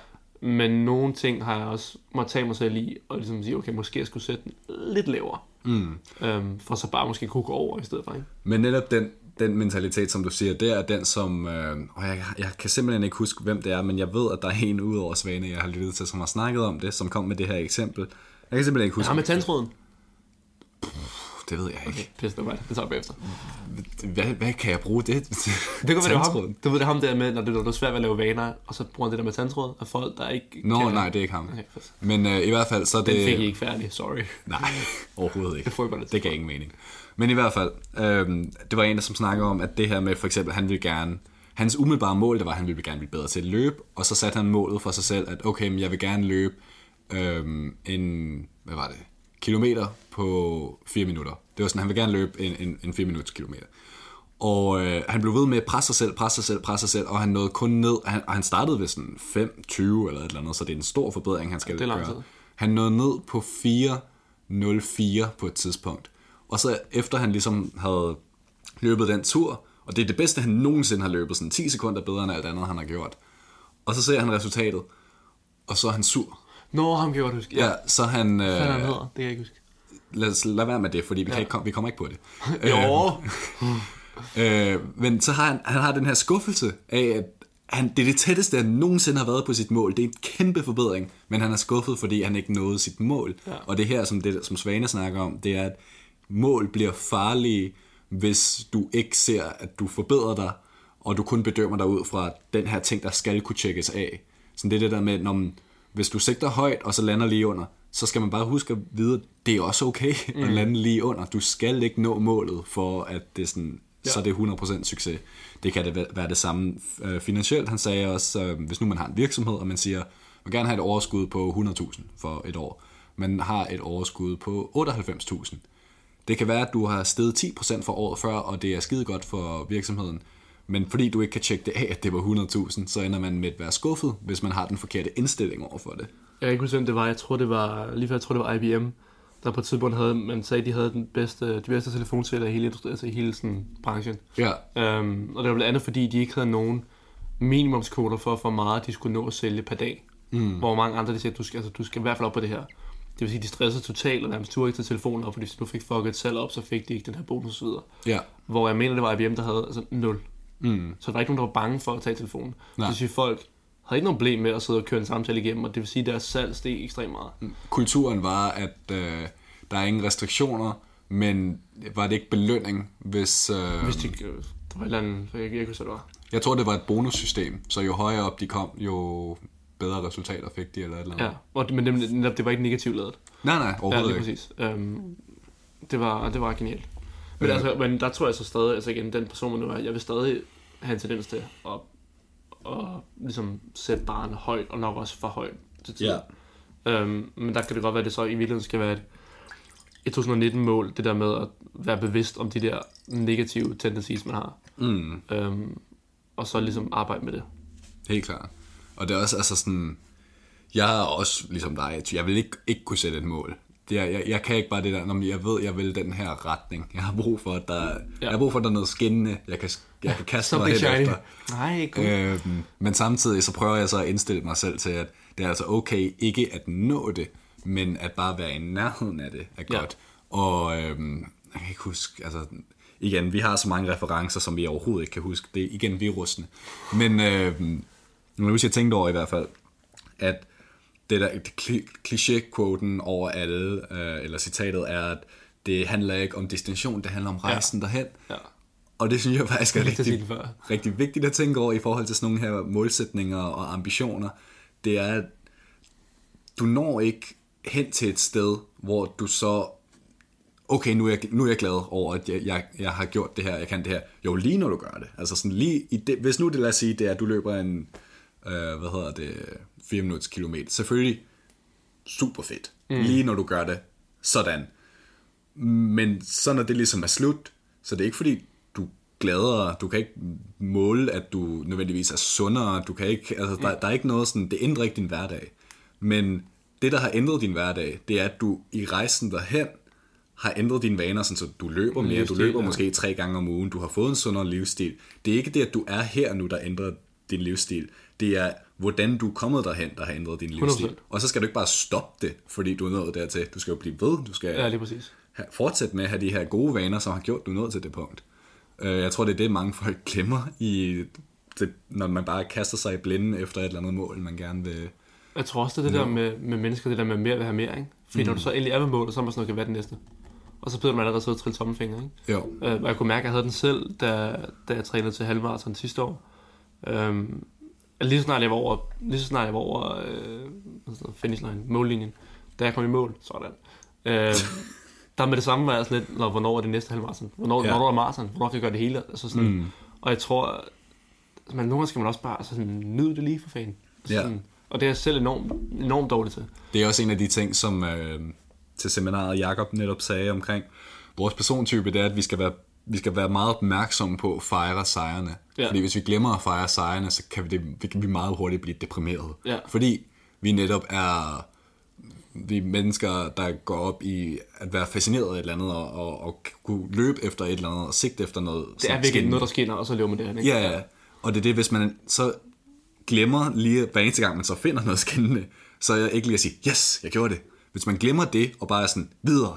Men nogle ting har jeg også må tage mig selv i, og ligesom sige, okay, måske jeg skulle sætte den lidt lavere.
mm.
Øhm, for så bare måske kunne gå over i stedet for, ikke?
Men netop den, den mentalitet, som du siger, det er den, som... Øh, og jeg, jeg kan simpelthen ikke huske, hvem det er, men jeg ved, at der er en ud over Svane, jeg har lyttet til, som har snakket om det, som kom med det her eksempel. Jeg kan simpelthen ikke huske...
Ja, med tandtråden.
det ved jeg ikke.
Pisse, det var det. Det tager vi bagefter.
hvad, hvad kan jeg bruge det til?
Det kan være, det var ham.
Tandtråden.
Du ved, det er ham der med, når det, når det er svært ved at lave vaner, og så bruger han det der med tandtråd, og folk, der ikke
Nå, nej, det er ikke ham.
Okay, fedt.
Men øh, i hvert fald, så er det...
Den fik I ikke færdig, sorry.
Nej, overhovedet ikke.
Det får jeg bare lidt
Det gav ingen mening. Men i hvert fald, øhm, det var en, der som snakkede om, at det her med for eksempel, han ville gerne... Hans umiddelbare mål, det var, at han ville gerne blive bedre til at løbe, og så satte han målet for sig selv, at okay, men jeg vil gerne løbe øhm, en, hvad var det, kilometer på 4 minutter. Det var sådan, han vil gerne løbe en, en, en 4 minutters kilometer. Og øh, han blev ved med at presse sig selv, presse sig selv, presse sig selv, og han nåede kun ned, han, og han startede ved sådan 5-20 eller et eller andet, så det er en stor forbedring, han skal
det er lang
gøre.
tid.
Han nåede ned på 4.04 på et tidspunkt. Og så efter han ligesom havde løbet den tur, og det er det bedste, han nogensinde har løbet, sådan 10 sekunder bedre end alt andet, han har gjort. Og så ser han resultatet, og så er han sur.
Nå, ham kan jeg godt huske.
Ja, så er han... Øh,
Hvad er det, han hedder? Det kan jeg ikke huske.
lad, os, lad være med det, fordi vi, ja. kan ikke, komme- vi kommer ikke på det. Øhm,
Jo.
Øh, men så har han, han har den her skuffelse af, at han, det er det tætteste, han nogensinde har været på sit mål. Det er en kæmpe forbedring, men han er skuffet, fordi han ikke nåede sit mål. Ja. Og det her, som, det, som Svane snakker om, det er, at mål bliver farlige, hvis du ikke ser, at du forbedrer dig, og du kun bedømmer dig ud fra den her ting, der skal kunne tjekkes af. Så det er det der med, når man, hvis du sigter højt, og så lander lige under, så skal man bare huske at vide, at det er også okay at lande lige under. Du skal ikke nå målet, for at det sådan ja. så er det 100% succes. Det kan det væ- være det samme øh, finansielt. Han sagde også, øh, hvis nu man har en virksomhed, og man siger, man vil gerne have et overskud på 100.000 for et år, men har et overskud på 98.000. Det kan være, at du har steget 10% fra året før, og det er skide godt for virksomheden, men fordi du ikke kan tjekke det af, at det var 100.000, så ender man med at være skuffet, hvis man har den forkerte indstilling over for det.
Jeg kan ikke huske, hvem det var. Jeg tror, det var, lige før jeg tror, det var IBM, der på et tidspunkt havde, man sagde, de havde den bedste, de bedste telefonsælger i hele, industri- altså i hele sådan, branchen.
Ja,
Øhm, og det var blandt andet, fordi de ikke havde nogen minimumskvoter for, hvor meget de skulle nå at sælge per dag. Mm. Hvor mange andre, de sagde, du skal, altså, du skal i hvert fald op på det her. Det vil sige, de stressede totalt og nærmest turde ikke til telefonen op, fordi hvis du fik fucket et salg op, så fik de ikke den her bonus osv.
ja,
Hvor jeg mener, det var IBM, der havde altså 0. Mm. Så der var ikke nogen, der var bange for at tage telefonen.
Nej.
Det vil sige, folk havde ikke nogen problem med at sidde og køre en samtale igennem, og det vil sige, at deres salg steg ekstremt meget.
kulturen var, at øh, der er ingen restriktioner, men var det ikke belønning, hvis... Øh,
Hvis de, øh, der var et eller andet, jeg, jeg kan ikke huske, hvad det var.
Jeg tror, det var et bonussystem, så jo højere op de kom, jo bedre resultater fik de eller et eller andet.
Ja, og, det- men det, netop, det var ikke negativt lavet.
Nej, nej,
Ja,
overhovedet
lige
ja, ikke.
præcis. Øhm, det, var, det var genialt. Men, altså, men der tror jeg så stadig, altså igen, den person, man nu er, jeg vil stadig have en tendens til at, at ligesom sætte barnet højt, og nok også for højt til tiden. Øhm, men der kan det godt være, at det så i virkeligheden skal være et, et 2019-mål, det der med at være bevidst om de der negative tendencies, man har.
Mm,
Øhm, og så ligesom arbejde med det.
helt klart. Og det er også altså sådan... Jeg er også ligesom dig, jeg vil ikke, ikke kunne sætte et mål. Det er, jeg, jeg kan ikke bare det der, "Nå, men jeg ved, jeg vil den her retning. Jeg har brug for, at der, ja. jeg har brug for, at der er noget skinnende, jeg kan, jeg kan kaste mig
Something
hen
shiny.
efter.
Nej, cool.
Øhm, men samtidig så prøver jeg så at indstille mig selv til, at det er altså okay ikke at nå det, men at bare være i nærheden af det er
Ja.
godt. Og øhm, jeg kan ikke huske, altså igen, vi har så mange referencer, som vi overhovedet ikke kan huske. Det er igen virusene. Men øhm, nu husker jeg tænkte over i hvert fald, at det der det kli- kliché-quoten over alle, øh, eller citatet er, at det handler ikke om destination, det handler om rejsen ja. derhen.
Ja.
Og det synes jeg faktisk er
lige til at sige
rigtig,
det før.
rigtig vigtigt at tænke over i forhold til sådan nogle her målsætninger og ambitioner. Det er, at du når ikke hen til et sted, hvor du så, okay, nu er jeg, nu er jeg glad over, at jeg, jeg, jeg har gjort det her, jeg kan det her. Jo, lige når du gør det. Altså sådan lige i det, hvis nu det, lad os sige, det er, at du løber en, øh, hvad hedder det, 4 minutters kilometer. Selvfølgelig super fedt. Mm. Lige når du gør det. Sådan. Men så når det ligesom er slut, så det er ikke fordi, du er gladere, du kan ikke måle, at du nødvendigvis er sundere, du kan ikke, altså,
Mm.
der, der er ikke noget sådan, det ændrer ikke din hverdag. Men det, der har ændret din hverdag, det er, at du i rejsen derhen har ændret dine vaner, sådan, så du løber mere, du
Livsstil,
løber
ja.
måske tre gange om ugen, du har fået en sundere livsstil. Det er ikke det, at du er her nu, der ændrer din livsstil. Det er, hvordan du er kommet derhen, der har ændret din livsstil.
100%.
Og så skal du ikke bare stoppe det, fordi du er nået dertil. Du skal jo blive ved, du skal
ja, lige præcis.
ha- fortsæt med at have de her gode vaner, som har gjort, du er nået til det punkt. Øh, Jeg tror, det er det, mange folk glemmer, i det, når man bare kaster sig i blinde efter et eller andet mål, man gerne vil...
Jeg tror også, det er det der med, med mennesker, det der med mere vil have mere, ikke? Fordi mm. når du så endelig er ved målet, så er man sådan, okay, hvad er det næste? Og så begynder man allerede sidde og trille tommelfingre, ikke?
Jo,
Øh, og jeg kunne mærke, at jeg havde den selv, da, da jeg trænede til halvmarathon sidste år. Øhm, at lige så snart jeg var over, lige så snart jeg var over øh, hvad hedder det, finish line, mållinjen, da jeg kom i mål, sådan. Øh, der med det samme var jeg sådan lidt, "Nå, hvornår er det næste halvmarathon? Hvornår,
Ja.
ja. hvornår er marathon? Hvornår kan jeg gøre det hele? Altså sådan, mm. Og jeg tror, at man, nogle gange skal man også bare altså sådan, nyde det lige for fanden. Altså
Ja.
sådan, Og det er jeg selv enormt, enormt dårlig til.
Det er også en af de ting, som øh, til seminaret Jakob netop sagde omkring vores persontype, det er, at vi skal være, vi skal være meget opmærksomme på at fejre sejrene. Ja.
Ja.
Fordi hvis vi glemmer at fejre sejrene, så kan vi, det, vi kan vi meget hurtigt blive deprimeret.
Ja.
Fordi vi netop er vi er mennesker, der går op i at være fascineret af et eller andet, og, og, og kunne løbe efter et eller andet, og sigte efter noget.
Det er virkelig noget, der skinner, og så lever man det her. Ikke?
Ja, ja. og det er det, hvis man så glemmer lige hver eneste gang, man så finder noget skændende, så er jeg ikke lige at sige, yes, jeg gjorde det. Hvis man glemmer det, og bare er sådan videre,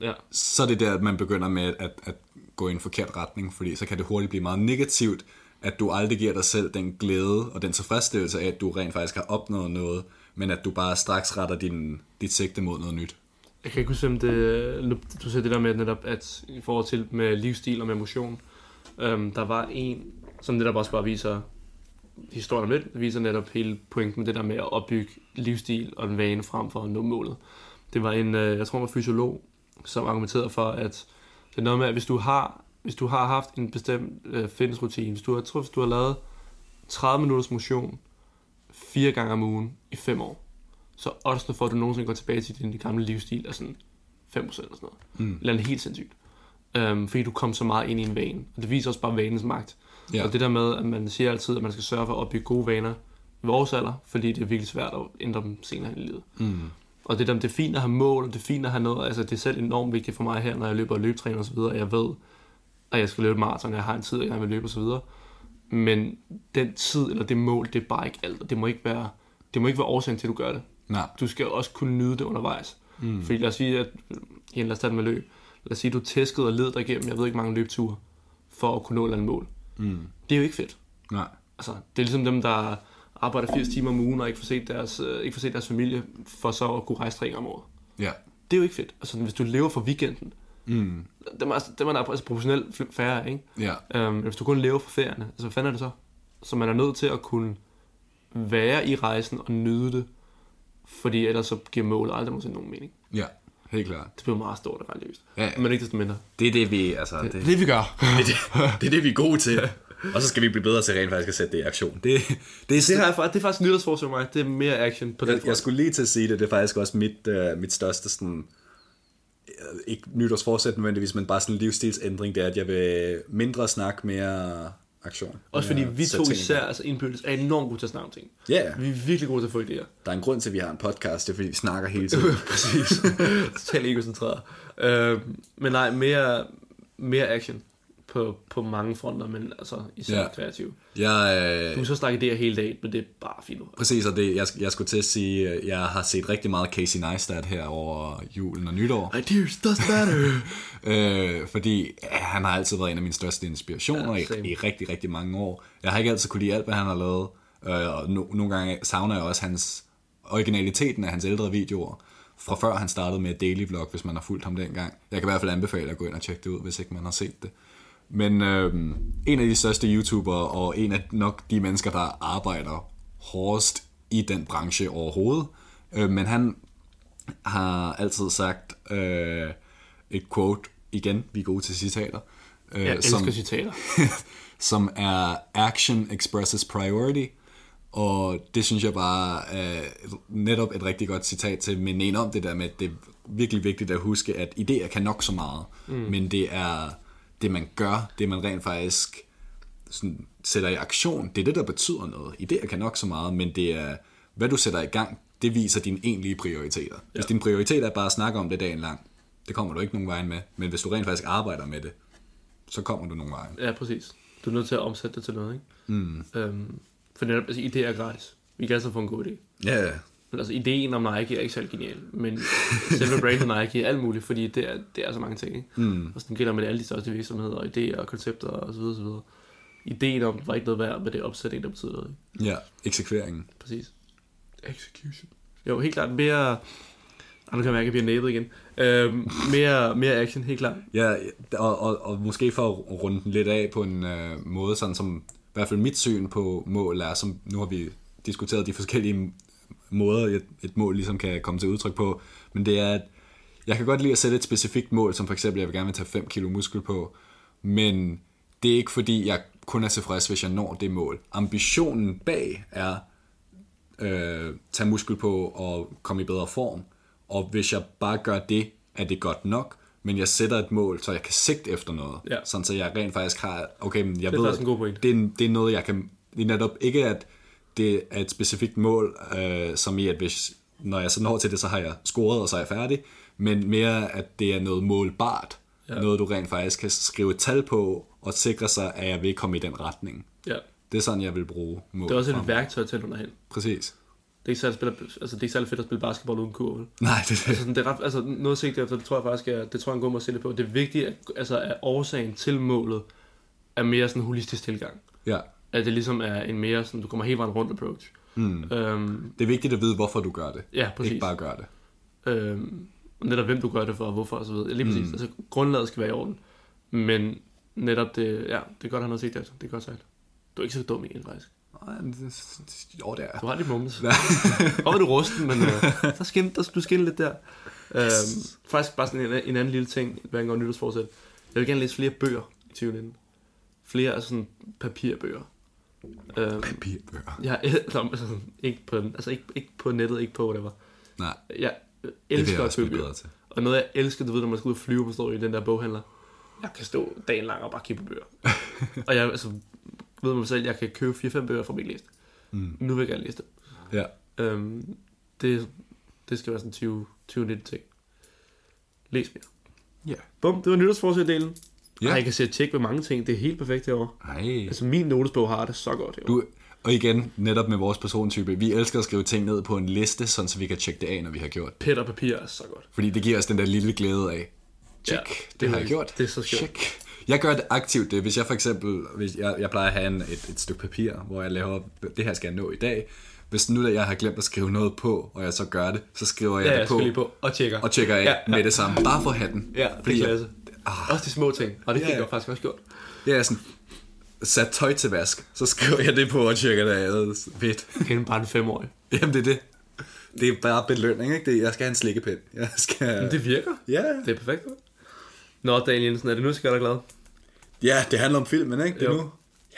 Ja.
så er det der, at man begynder med at, at gå i en forkert retning, fordi så kan det hurtigt blive meget negativt, at du aldrig giver dig selv den glæde og den tilfredsstillelse af, at du rent faktisk har opnået noget, men at du bare straks retter din, dit sigte mod noget nyt.
Jeg kan ikke huske, om det, nu, du sagde det der med, netop, at i forhold til med livsstil og med motion, øhm, der var en, som netop også bare viser historien om lidt, viser netop hele pointen med det der med at opbygge livsstil og en vane frem for at nå målet. Det var en, øh, jeg tror han var fysiolog, som argumenterede for, at det er noget med, at hvis du har hvis du har haft en bestemt øh, fitnessrutine, hvis du har, jeg tror, hvis du har lavet 30 minutters motion fire gange om ugen i fem år, så også for, at du nogensinde går tilbage til din gamle livsstil, er sådan 5% eller sådan noget. Mm. Eller helt sindssygt. Øhm, fordi du kom så meget ind i en vane. Og det viser også bare vanens magt.
Ja.
Og det der med, at man siger altid, at man skal sørge for at opbygge gode vaner i vores alder, fordi det er virkelig svært at ændre dem senere i livet. Mm. Og det, der, det er fint at have mål, og det er fint at have noget, altså det er selv enormt vigtigt for mig her, når jeg løber og løbetræner osv., og jeg ved, at jeg skal løbe maraton, og jeg har en tid, og jeg gerne vil løbe osv. Men den tid eller det mål, det er bare ikke alt, og det må ikke være, det må ikke være årsagen til, at du gør det
Nej.
du skal også kunne nyde det undervejs. Mm. Fordi lad os sige, at ja, lad os tage den med løb. Lad os sige, at du tæskede og led dig igennem, jeg ved ikke, mange løbeture, for at kunne nå et eller andet mål. Mm. Det er jo ikke fedt.
Nej.
Altså, det er ligesom dem, der arbejder 80 timer om ugen og ikke får set deres, øh, ikke får set deres familie, for så at kunne rejse tre gange om året.
Ja.
Det er jo ikke fedt. Altså, hvis du lever for weekenden, mm. dem, er, altså- dem er der altså proportionelt fl- færre, ikke?
Ja.
Øhm, hvis du kun lever for ferierne, altså hvad fanden er det så? Så man er nødt til at kunne være i rejsen og nyde det, fordi ellers så giver målet aldrig nogensinde nogen mening.
Ja. Helt klart.
Det bliver meget stort og religiøst.
Ja, ja.
Men ikke desto mindre.
Det er det, vi... Altså, det,
Det vi gør.
det, det, det er det, vi er gode til. Og så skal vi blive bedre til rent faktisk at sætte det i aktion. Det, det er
Det, har jeg, fa- det er faktisk nytårsforsøg mig. Det er mere action på den
Jeg, jeg
front.
skulle lige til at sige det, det er faktisk også mit, øh, mit største sådan, øh, ikke nytårsforsæt nødvendigvis, men bare sådan en livsstilsændring, det er, at jeg vil mindre snak, mere aktion.
Også fordi
Mere
vi
sætte
to
ting i
især altså indbyrdes er enormt gode til at snakke om ting.
Ja, ja.
Vi er virkelig gode til at få idéer.
gang. Der er en grund til, at vi har en podcast, det er fordi, vi snakker hele tiden. Præcis.
Totalt egocentreret. Øh, men nej, mere, mere action på, på mange fronter, men altså især
Ja.
ja. kreativ.
Jeg, øh,
Du kan så snakke idéer hele dagen, men det er bare fint.
præcis, og det, jeg, jeg skulle til at sige, øh, jeg har set rigtig meget Casey Neistat her over julen og nytår.
Ideas does matter.
Øh, fordi øh, han har altid været en af mine største inspirationer
Ja,
ja,
same.
i, i rigtig, rigtig mange år. Jeg har ikke altid kunne lide alt, hvad han har lavet, øh, og no, nogle gange savner jeg også hans originaliteten af hans ældre videoer, fra før han startede med Daily Vlog, hvis man har fulgt ham dengang. Jeg kan i hvert fald anbefale at gå ind og tjekke det ud, hvis ikke man har set det. Men øh, en af de største YouTubere, og en af nok de mennesker, der arbejder hårdest i den branche overhovedet, øh, men han har altid sagt øh, et quote igen, vi er gode til citater, øh,
Jeg elsker citater.
som er action expresses priority, og det synes jeg bare er netop et rigtig godt citat til at minde en om det der med, at det er virkelig vigtigt at huske, at idéer kan nok så meget, mm. men det er det, man gør, det man rent faktisk sådan, sætter i aktion, det er det, der betyder noget. Idéer kan nok så meget, men det er, hvad du sætter i gang, det viser dine egentlige prioriteter. Hvis din prioritet er bare at snakke om det dagen lang, det kommer du ikke nogen vejen med, men hvis du rent faktisk arbejder med det, så kommer du nogen vejen.
Ja, præcis. Du er nødt til at omsætte det til noget, ikke? Mm. Øhm, for netop, altså, idéer er gratis. Vi kan altså få en god idé.
Ja, yeah.
Men altså, ideen om Nike er ikke særlig genial, men selve brandet Nike er alt muligt, fordi det er, det er så mange ting, ikke? Mm. Og sådan gælder med alle de største virksomheder, og idéer og koncepter og så videre, så videre. Ideen om var ikke noget værd, men det er opsætning, der betyder noget, ikke?
ja. eksekveringen.
Præcis. Execution. Jo, helt klart mere... Ah, nu kan jeg mærke, at jeg bliver næbet igen. Øhm, mere, mere action, helt klart.
Ja, og, og, og måske for at runde den lidt af på en øh, måde, sådan som i hvert fald mit syn på mål er, som nu har vi diskuteret de forskellige måder, et, et mål ligesom kan komme til udtryk på, men det er, at jeg kan godt lide at sætte et specifikt mål, som for eksempel, jeg vil gerne vil tage 5 kilo muskel på, men det er ikke fordi, jeg kun er tilfreds, hvis jeg når det mål. Ambitionen bag er, øh, tage muskel på og komme i bedre form. Og hvis jeg bare gør det, er det godt nok, men jeg sætter et mål, så jeg kan sigte efter noget.
Ja.
Sådan så jeg rent faktisk har, okay, men jeg
Det er
ved,
faktisk en god pointe.
det, er, det er noget, jeg kan, det er netop ikke, at det er et specifikt mål, øh, som i, at hvis, når jeg så når til det, så har jeg scoret, og så er jeg færdig, men mere, at det er noget målbart, ja. noget du rent faktisk kan skrive et tal på, og sikre sig, at jeg vil komme i den retning.
Ja.
Det er sådan, jeg vil bruge mål.
Det er også et værktøj til underhen.
Præcis.
Det er ikke særlig, spiller, altså, det er ikke særlig fedt at spille basketball uden kurve. vel?
Nej, det er det.
Så sådan, det er ret, altså, noget at sigte efter, det tror jeg faktisk, er, det tror jeg er en god måde at se det på. Det er vigtigt, at, altså, at årsagen til målet er mere sådan en holistisk tilgang.
Ja,
At det ligesom er en mere sådan, du kommer helt vejen rundt approach. Mm. Øhm,
det er vigtigt at vide, hvorfor du gør det.
ja, præcis.
Hmm. Ikke bare gøre det.
Øhm, og netop hvem du gør det for, og hvorfor osv. Lige
Hmm.
præcis. Mm. Altså, grundlaget skal være i orden. Men netop det, ja, det er godt at have noget sigt efter. Det er godt sagt. Du er ikke så dum egentlig, faktisk.
Nej, men det- det- Jo, det er.
Du har lidt mumles. Og var du rusten, men øh, så skin, der, du skinner lidt der. Øhm, faktisk bare sådan en, en anden lille ting, hvad angår nytårsforsæt. Jeg vil gerne læse flere bøger. 2019. Flere af sådan papirbøger. Øh,
Papirbøger.
jeg elsker, altså, ikke på, altså ikke, ikke på nettet, ikke på whatever.
Nej,
Jeg øh,
det vil
elsker
jeg
at
også
købe
blive
bøger.
bedre til.
Og noget jeg elsker, du ved, når man skal ud og flyve, man står i den der boghandler. Jeg kan stå dagen lang og bare kigge på bøger. og jeg altså, ved mig selv, jeg kan købe 4-5 bøger fra min liste. Mm. Nu vil jeg gerne læse dem.
Ja.
Øhm, det, det skal være sådan 20, 20 ting. Læs mere.
Ja.
Bum, det var nytårsforsætdelen.
Ja.
Ja. Ej, jeg kan sætte tjek med mange ting. Det er helt perfekt herovre.
Ej.
Altså, min notesbog har det så godt herovre.
Du, og igen, netop med vores persontype, vi elsker at skrive ting ned på en liste, sådan så vi kan tjekke det af, når vi har gjort det.
Pæt og papir er så godt.
Fordi det giver os den der lille glæde af, tjek,
Ja,
ja, det,
det
har
er-
jeg gjort.
det er så sjovt.
Tjek. Jeg gør det aktivt, det. hvis jeg for eksempel, hvis jeg, jeg plejer at have en, et, et stykke papir, hvor jeg laver, det her skal jeg nå i dag. Hvis nu da jeg har glemt at skrive noget på, og jeg så gør det, så skriver jeg
Ja,
det
jeg
på,
skal lige på og tjekker.
og tjekker af ja,
Ja,
ja. med det samme. Bare for hatten.
Ja, det er klasse. Ah. Også de små ting. Og det fik
Ja, ja.
jeg faktisk også gjort.
Jeg er sådan, sat tøj til vask, så skriver jeg det på og tjekker det af. Fedt.
Kende bare en femårig.
Jamen, det er det. Det er bare belønning, ikke? Det, er- jeg skal have en slikkepind. Jeg skal...
Det virker.
Ja,
Det er perfekt. Nå, Daniel Jensen, er det nu, skal dig glad?
ja, det handler om filmen, ikke? Det er
Jo.
nu.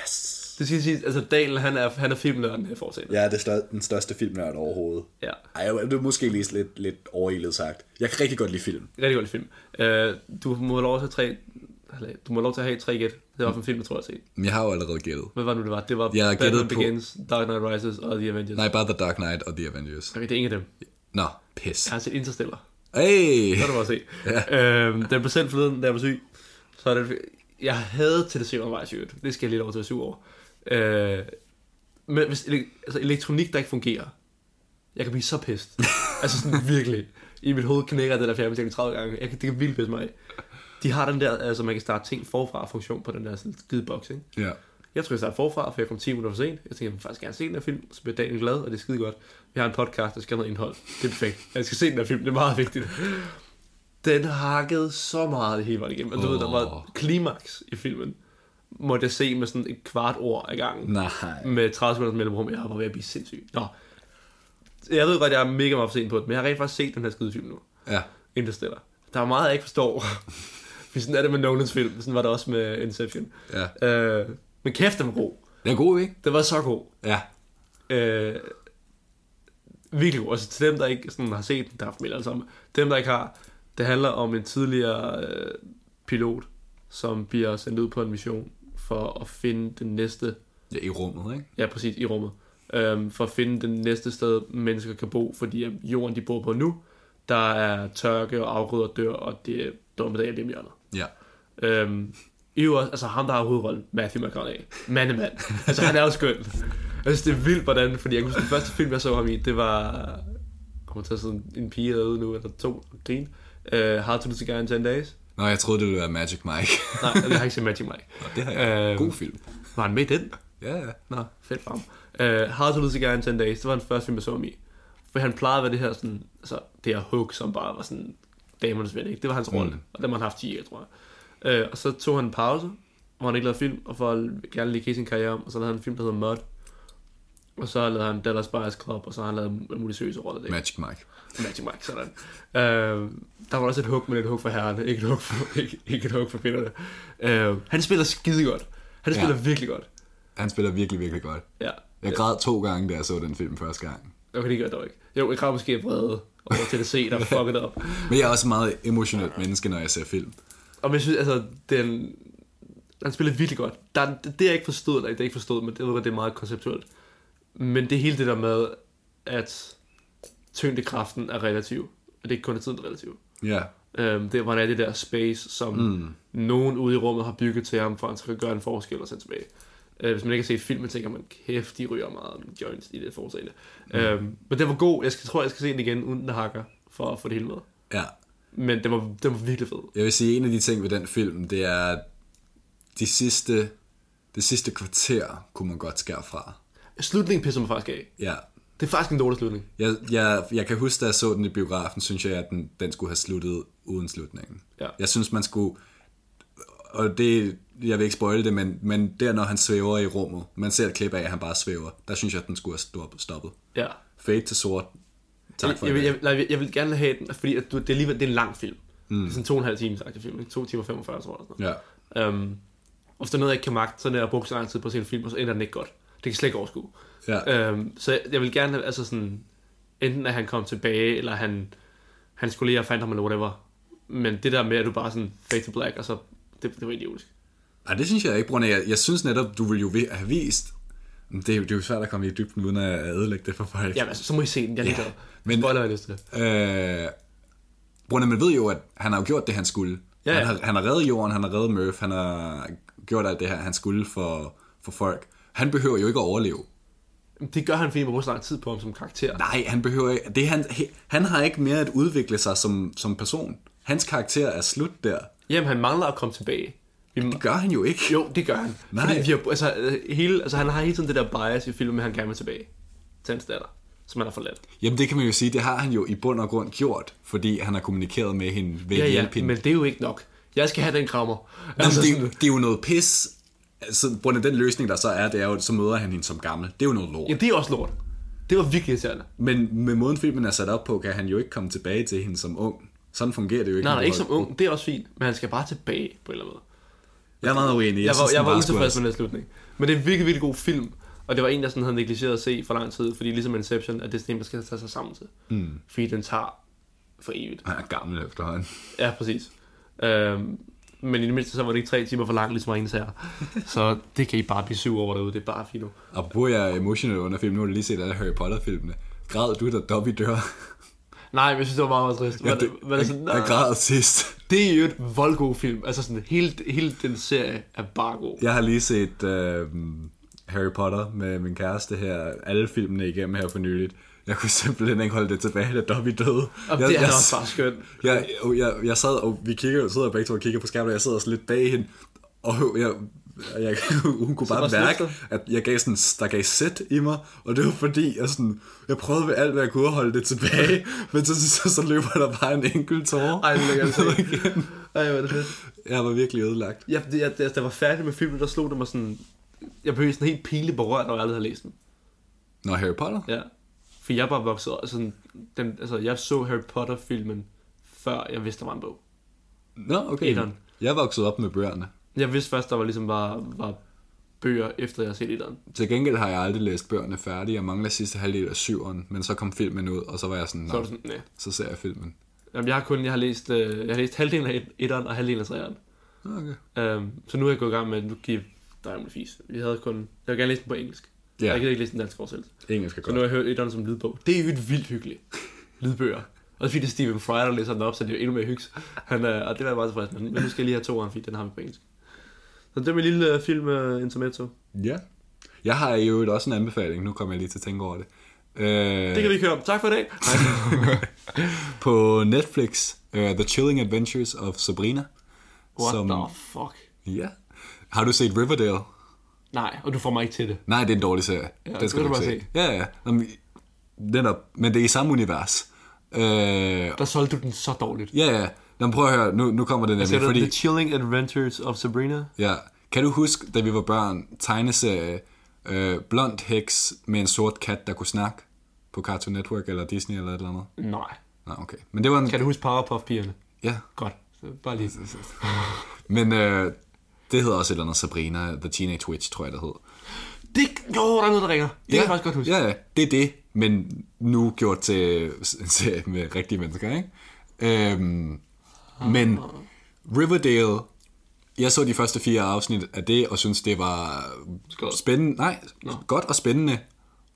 Yes.
Det skal sige, altså Daniel, han er, han er filmnørden her fortsat.
Jeg er det stør- den største filmnørd overhovedet.
Ja.
Ej, det er måske lige lidt, lidt overilet sagt. Jeg kan rigtig godt lide film.
Rigtig godt film. Uh, du må have lov til at have tre... eller, Du må have lov til at have tre gæt. Det var fra en film, jeg tror, jeg har set.
Men jeg har jo allerede gættet.
Hvad var det nu, det var? Det var
Jeg har
Batman
gættet på-
Begins, Dark Knight Rises og The Avengers.
Nej, bare The Dark Knight og The Avengers.
Okay, det er ingen af dem.
Nå, pis.
Jeg har set Interstellar.
Hey!
Det kan du bare se. ja. øhm, den blev sendt forleden, da jeg var syg. Så er det, jeg havde til det syvende vej sygt. Det skal jeg lige lov til at være syg over. Øh, men hvis ele- altså, elektronik, der ikke fungerer, jeg kan blive så pist. altså sådan virkelig. I mit hoved knækker den der fjernbetjening 30 gange. Jeg kan, det kan vildt pisse mig af. De har den der, altså man kan starte ting forfra funktion på den der sådan skide boks, ikke?
Ja.
Jeg tror, jeg starter forfra, for jeg kom 10 minutter for sent. Jeg tænkte, jeg vil faktisk gerne se den her film, så bliver Daniel glad, og det er skide godt. Vi har en podcast, der skal have noget indhold. Det er perfekt. Jeg skal se den her film, det er meget vigtigt. Den hakkede så meget hele vejen igennem. Og du oh. ved, der
Åh.
var klimaks i filmen. Måtte jeg se med sådan et kvart ord ad gangen.
Nej.
Med 30 minutters mellemrum. Jeg var ved at blive sindssyg. Nå. Jeg ved godt, jeg er mega meget for sent på det, men jeg har rent faktisk set den her skide film nu.
Ja.
Interstellar. Der er meget, jeg ikke forstår. Fordi sådan er det med Nolans film. Sådan var det også med Inception.
Ja.
Øh, men kæft, den var god.
Det er god, ikke?
Den var så god.
Ja.
Øh, virkelig god. Altså til dem, der ikke sådan, har set den, der er familie alle sammen. Dem, der ikke har, det handler om en tidligere øh, pilot, som bliver sendt ud på en mission for at finde den næste,
ja. I rummet, ikke?
ja præcis, i rummet, øh, for at finde den næste sted, mennesker kan bo, fordi at jorden, de bor på nu, der er tørke og afgrøder dør, og det er dommedag lige om hjørnet.
Ja.
Øhm, I jo også, altså ham, der har hovedrollen, Matthew McConaughey. Mandemand. Altså, han er jo skøn. Jeg synes, det er vildt, hvordan, fordi jeg kunne huske, den første film, jeg så ham i, det var, jeg kommer til at sidde en pige derude nu, eller to, og grine. Uh, Hard to Lose a Guy in 10 Days.
Nå, jeg troede, det ville være Magic Mike.
Nej, jeg har ikke set Magic Mike.
det har jeg.
Øhm.
God film.
Var han med i den?
Ja, ja.
Nå, fedt for ham. Uh, Hard to Lose a Guy in 10 Days, det var den første film, jeg så ham i. For han plejede at være det her, sådan, altså, det her hook, som bare var sådan damernes ven, ikke? Det var hans rolle,
Mm.
mm. og den har han haft 10 år, tror jeg. Uh, og så tog han en pause, hvor han ikke lavede film, og for at gerne lige kigge sin karriere om, og så lavede han en film, der hedder Mud. Og så lavede han Dallas Buyers Club, og så har han lavet mulige seriøse roller. Det
Magic Mike.
Magic Mike, sådan. Øh, der var også et hug, men et hug for herrerne, ikke et hug for, ikke, ikke et hug for kvinderne. Øh, han spiller skide godt. Han
Ja.
spiller ja. virkelig godt.
Han spiller virkelig, virkelig godt.
Ja.
Jeg græd to gange, da jeg så den film første gang.
Okay, det gør jeg dog ikke. Jo, jeg kræver måske at brede over til at se, der fucked op.
Men jeg er også et meget emotionelt menneske, når jeg ser film.
Og men jeg synes, altså, den, han spiller virkelig godt. Der, er- det, jeg ikke forstod, eller det jeg ikke forstod, men det, jeg ved godt, det er meget konceptuelt. Men det er hele det der med, at tyngdekraften er relativ. Og det er ikke kun at tiden, der er relativ.
Ja.
Øhm, det var det der space, som mm. nogen ude i rummet har bygget til ham, for at han skal gøre en forskel og sende tilbage. Øh, hvis man ikke har set filmen, tænker man, kæft, de ryger meget om joints i det foretagende. Mm. Øhm, men den var god. Jeg skal, tror, jeg skal se den igen, uden den hakker, for at få det hele med.
Ja.
Men den var, den var virkelig fed.
Jeg vil sige, en af de ting ved den film, det er, at de sidste, det sidste kvarter kunne man godt skære fra.
Slutningen pisser mig faktisk af.
Ja.
Det er faktisk en dårlig slutning.
Jeg, jeg, jeg kan huske, da jeg så den i biografen, synes jeg, at den, den skulle have sluttet uden slutningen.
Ja.
Jeg synes, man skulle... Og det, jeg vil ikke spoile det, men, men der, når han svæver i rummet, man ser et klip af, at han bare svæver, der synes jeg, at den skulle have stoppet- stoppet.
Ja.
Fade til sort. Tak for
jeg,
i
vil,
dag.
jeg, nej, jeg, vil- jeg vil gerne have den, fordi at du, det, er alligevel, det er en lang film. Mm. Det er sådan to og en halv time, sagt, film. Ikke? To timer 45, tror jeg. Eller sådan noget.
Ja.
Øhm, Og hvis der er noget, jeg ikke kan magte, så er det at bruge så lang tid på at se en film, og så ender den ikke godt. Det kan jeg slet ikke overskue.
Ja.
Øhm, så jeg, jeg vil gerne have, altså sådan, enten at han kom tilbage, eller han, hans kolleger fandt ham, eller whatever. Men det der med, at du bare sådan fade to black, og så, det, det var idiotisk.
Nej, det synes jeg ikke, Brunner. Jeg, jeg synes netop, du ville jo vi- have vist... Men Det, er jo- det er jo svært at komme i dybden, uden at ødelægge det for folk.
Jamen, altså, så må I se den, jeg er ligeglad.
men-
Men... Spoiler, jeg lyst til.
Øh, Brunner, man ved jo, at han har jo gjort det, han skulle.
Ja, ja.
Han, har, han har reddet jorden, han har reddet Murph, han har gjort alt det her, han skulle for, for folk. Han behøver jo ikke at overleve.
Det gør han, fordi man bruger så lang tid på ham som karakter.
Nej, han behøver ikke. Det er han, he- han har ikke mere at udvikle sig som, som person. Hans karakter er slut der.
Jamen, han mangler at komme tilbage. Vi,
Det gør han jo ikke.
jo, det gør han.
Nej.
Fordi vi har, altså, øh, hele, altså, han har hele tiden det der bias i filmen, at han gerne vil tilbage til hans datter, som han har forladt.
Jamen det kan man jo sige, det har han jo i bund og grund gjort, fordi han har kommunikeret med hende ved at
Ja,
hjælpe
ja,
hende.
men det er jo ikke nok. Jeg skal have den krammer.
Altså,
Altså,
det, er
sådan-
jo- det er jo noget pis. Altså, Brunner, den løsning, der så er, det er jo, så møder han hende som gammel. Det er jo noget lort.
ja, det er også lort. Det var virkelig irriterende.
Men med måden filmen er sat op på, kan han jo ikke komme tilbage til hende som ung. Sådan fungerer det jo ikke.
Nej,
når
nej,
du
ikke
har-
som ung. Det er også fint, men han skal bare tilbage på en eller anden måde.
Jeg er meget uenig.
Jeg, var,
synes,
jeg
den
var
bare skulle
utilfreds med den her slutning. Men det er en virkelig, virkelig god film. Og det var en, jeg sådan havde negligeret at se for lang tid, fordi ligesom Inception er det sådan en, man skal tage sig sammen til. Mm. Fordi den tager for evigt.
have- Han er gammel efterhånden.
Ja, præcis. Øhm, men i det mindste, så var det ikke tre timer for langt, ligesom Ringens her. Så det kan I bare blive syv over derude, det er bare fint nu.
Og bruger jeg er emotional under film, nu har du lige set alle Harry Potter-filmene. Græd du, da Dobby dør?
Nej, men jeg synes, det var meget, meget trist. Ja, det, var det, sådan,
jeg, jeg
nej.
græd sidst.
det er jo et voldgod film. Altså sådan, hele, hele den serie er bare god.
Jeg har lige set øh, Harry Potter med min kæreste her, alle filmene igennem her for nyligt. Jeg kunne simpelthen ikke holde det tilbage, da Dobby døde.
Og
jeg,
det er
jeg,
også bare skønt.
jeg, jeg, jeg sad, og vi kigger, jo- sidder begge to og kigger på skærmen, og jeg sidder også lidt bag hende, og jeg, jeg, hun kunne bare
var
mærke,
slipset.
at jeg gav sådan, der gav sæt i mig, og det var fordi, jeg, sådan, jeg prøvede ved alt, hvad jeg kunne at holde det tilbage, men så, så, så løber der bare en enkelt tårer.
Ej, det vil jeg gerne se. Ej, hvor er det fedt.
Jeg var virkelig ødelagt.
jeg, jeg, jeg, da jeg var færdig med filmen, der slog det mig sådan... Jeg blev sådan helt pinligt berørt, når jeg aldrig havde læst den.
Nå, Harry Potter?
Ja. For jeg bare voksede... Altså, sådan, den, altså, jeg så Harry Potter-filmen, før jeg vidste, der var en bog.
Nå, okay.
Etteren.
Jeg voksede op med bøgerne.
Jeg vidste først, der var ligesom var, var bøger, efter jeg havde set etteren.
Til gengæld har jeg aldrig læst bøgerne færdige. Jeg mangler sidste halvdel af syveren, men så kom filmen ud, og så var jeg sådan,
Så var
nej,
det sådan, nej.
så ser jeg filmen.
Jamen, jeg har kun jeg har læst, øh, jeg har læst halvdelen af et- etteren og halvdelen af treeren.
Okay.
Øhm, så nu er jeg gået i gang med, nu giver dig om det fis. Vi havde kun... Jeg vil gerne læse den på engelsk.
Ja.
Jeg gider ikke læse den danske oversættelse.
Engelsk er
Så nu
godt.
har jeg hørt etteren som lydbog. Det er jo et vildt hyggeligt. Lydbøger. Og fordi det er Stephen Fry, der læser den op, så det er jo endnu mere hyggs. Han, øh, og det var jeg meget tilfreds med. Men nu skal jeg lige have to fordi den har vi på engelsk. Så det er min lille øh, film uh, Intermezzo. Det
Ja. Jeg har i øvrigt også en anbefaling. Nu kommer jeg lige til at tænke over det. Øh,
kan vi ikke høre om. Tak for i dag. Nej,
På Netflix, uh, The Chilling Adventures of Sabrina.
what
som,
the fuck?
Ja. Har du set Riverdale?
Nej, og du får mig ikke til det.
Nej, det er en dårlig serie.
Ja,
den
det
skal
kan
du
du
ikke
bare
se. Ja, ja. Jamen, Den er, men det er i samme univers. Øh, ja,
Der solgte du den så dårligt.
ja. Nå, prøv at høre, nu, nu kommer det nemlig.
Så
fordi...
The Chilling Adventures of Sabrina.
Ja. Kan du huske, da vi var børn, tegneserie, øh, blond heks med en sort kat, der kunne snakke på Cartoon Network eller Disney eller et eller andet?
Nej.
Nå, okay. Men det var en...
Kan du huske Powerpuff-pigerne?
Ja.
Godt. Så Bare lige.
Men øh, det hedder også et eller andet Sabrina, The Teenage Witch, tror jeg, det hed.
Det, jo, der er noget, der ringer. Det kan jeg faktisk godt huske.
Ja, ja, det er det, men nu gjort til en serie med rigtige mennesker, ikke? Øhm, men Riverdale, jeg så de første fire afsnit af det, og synes det var
Skørt.
spændende, nej, godt og spændende,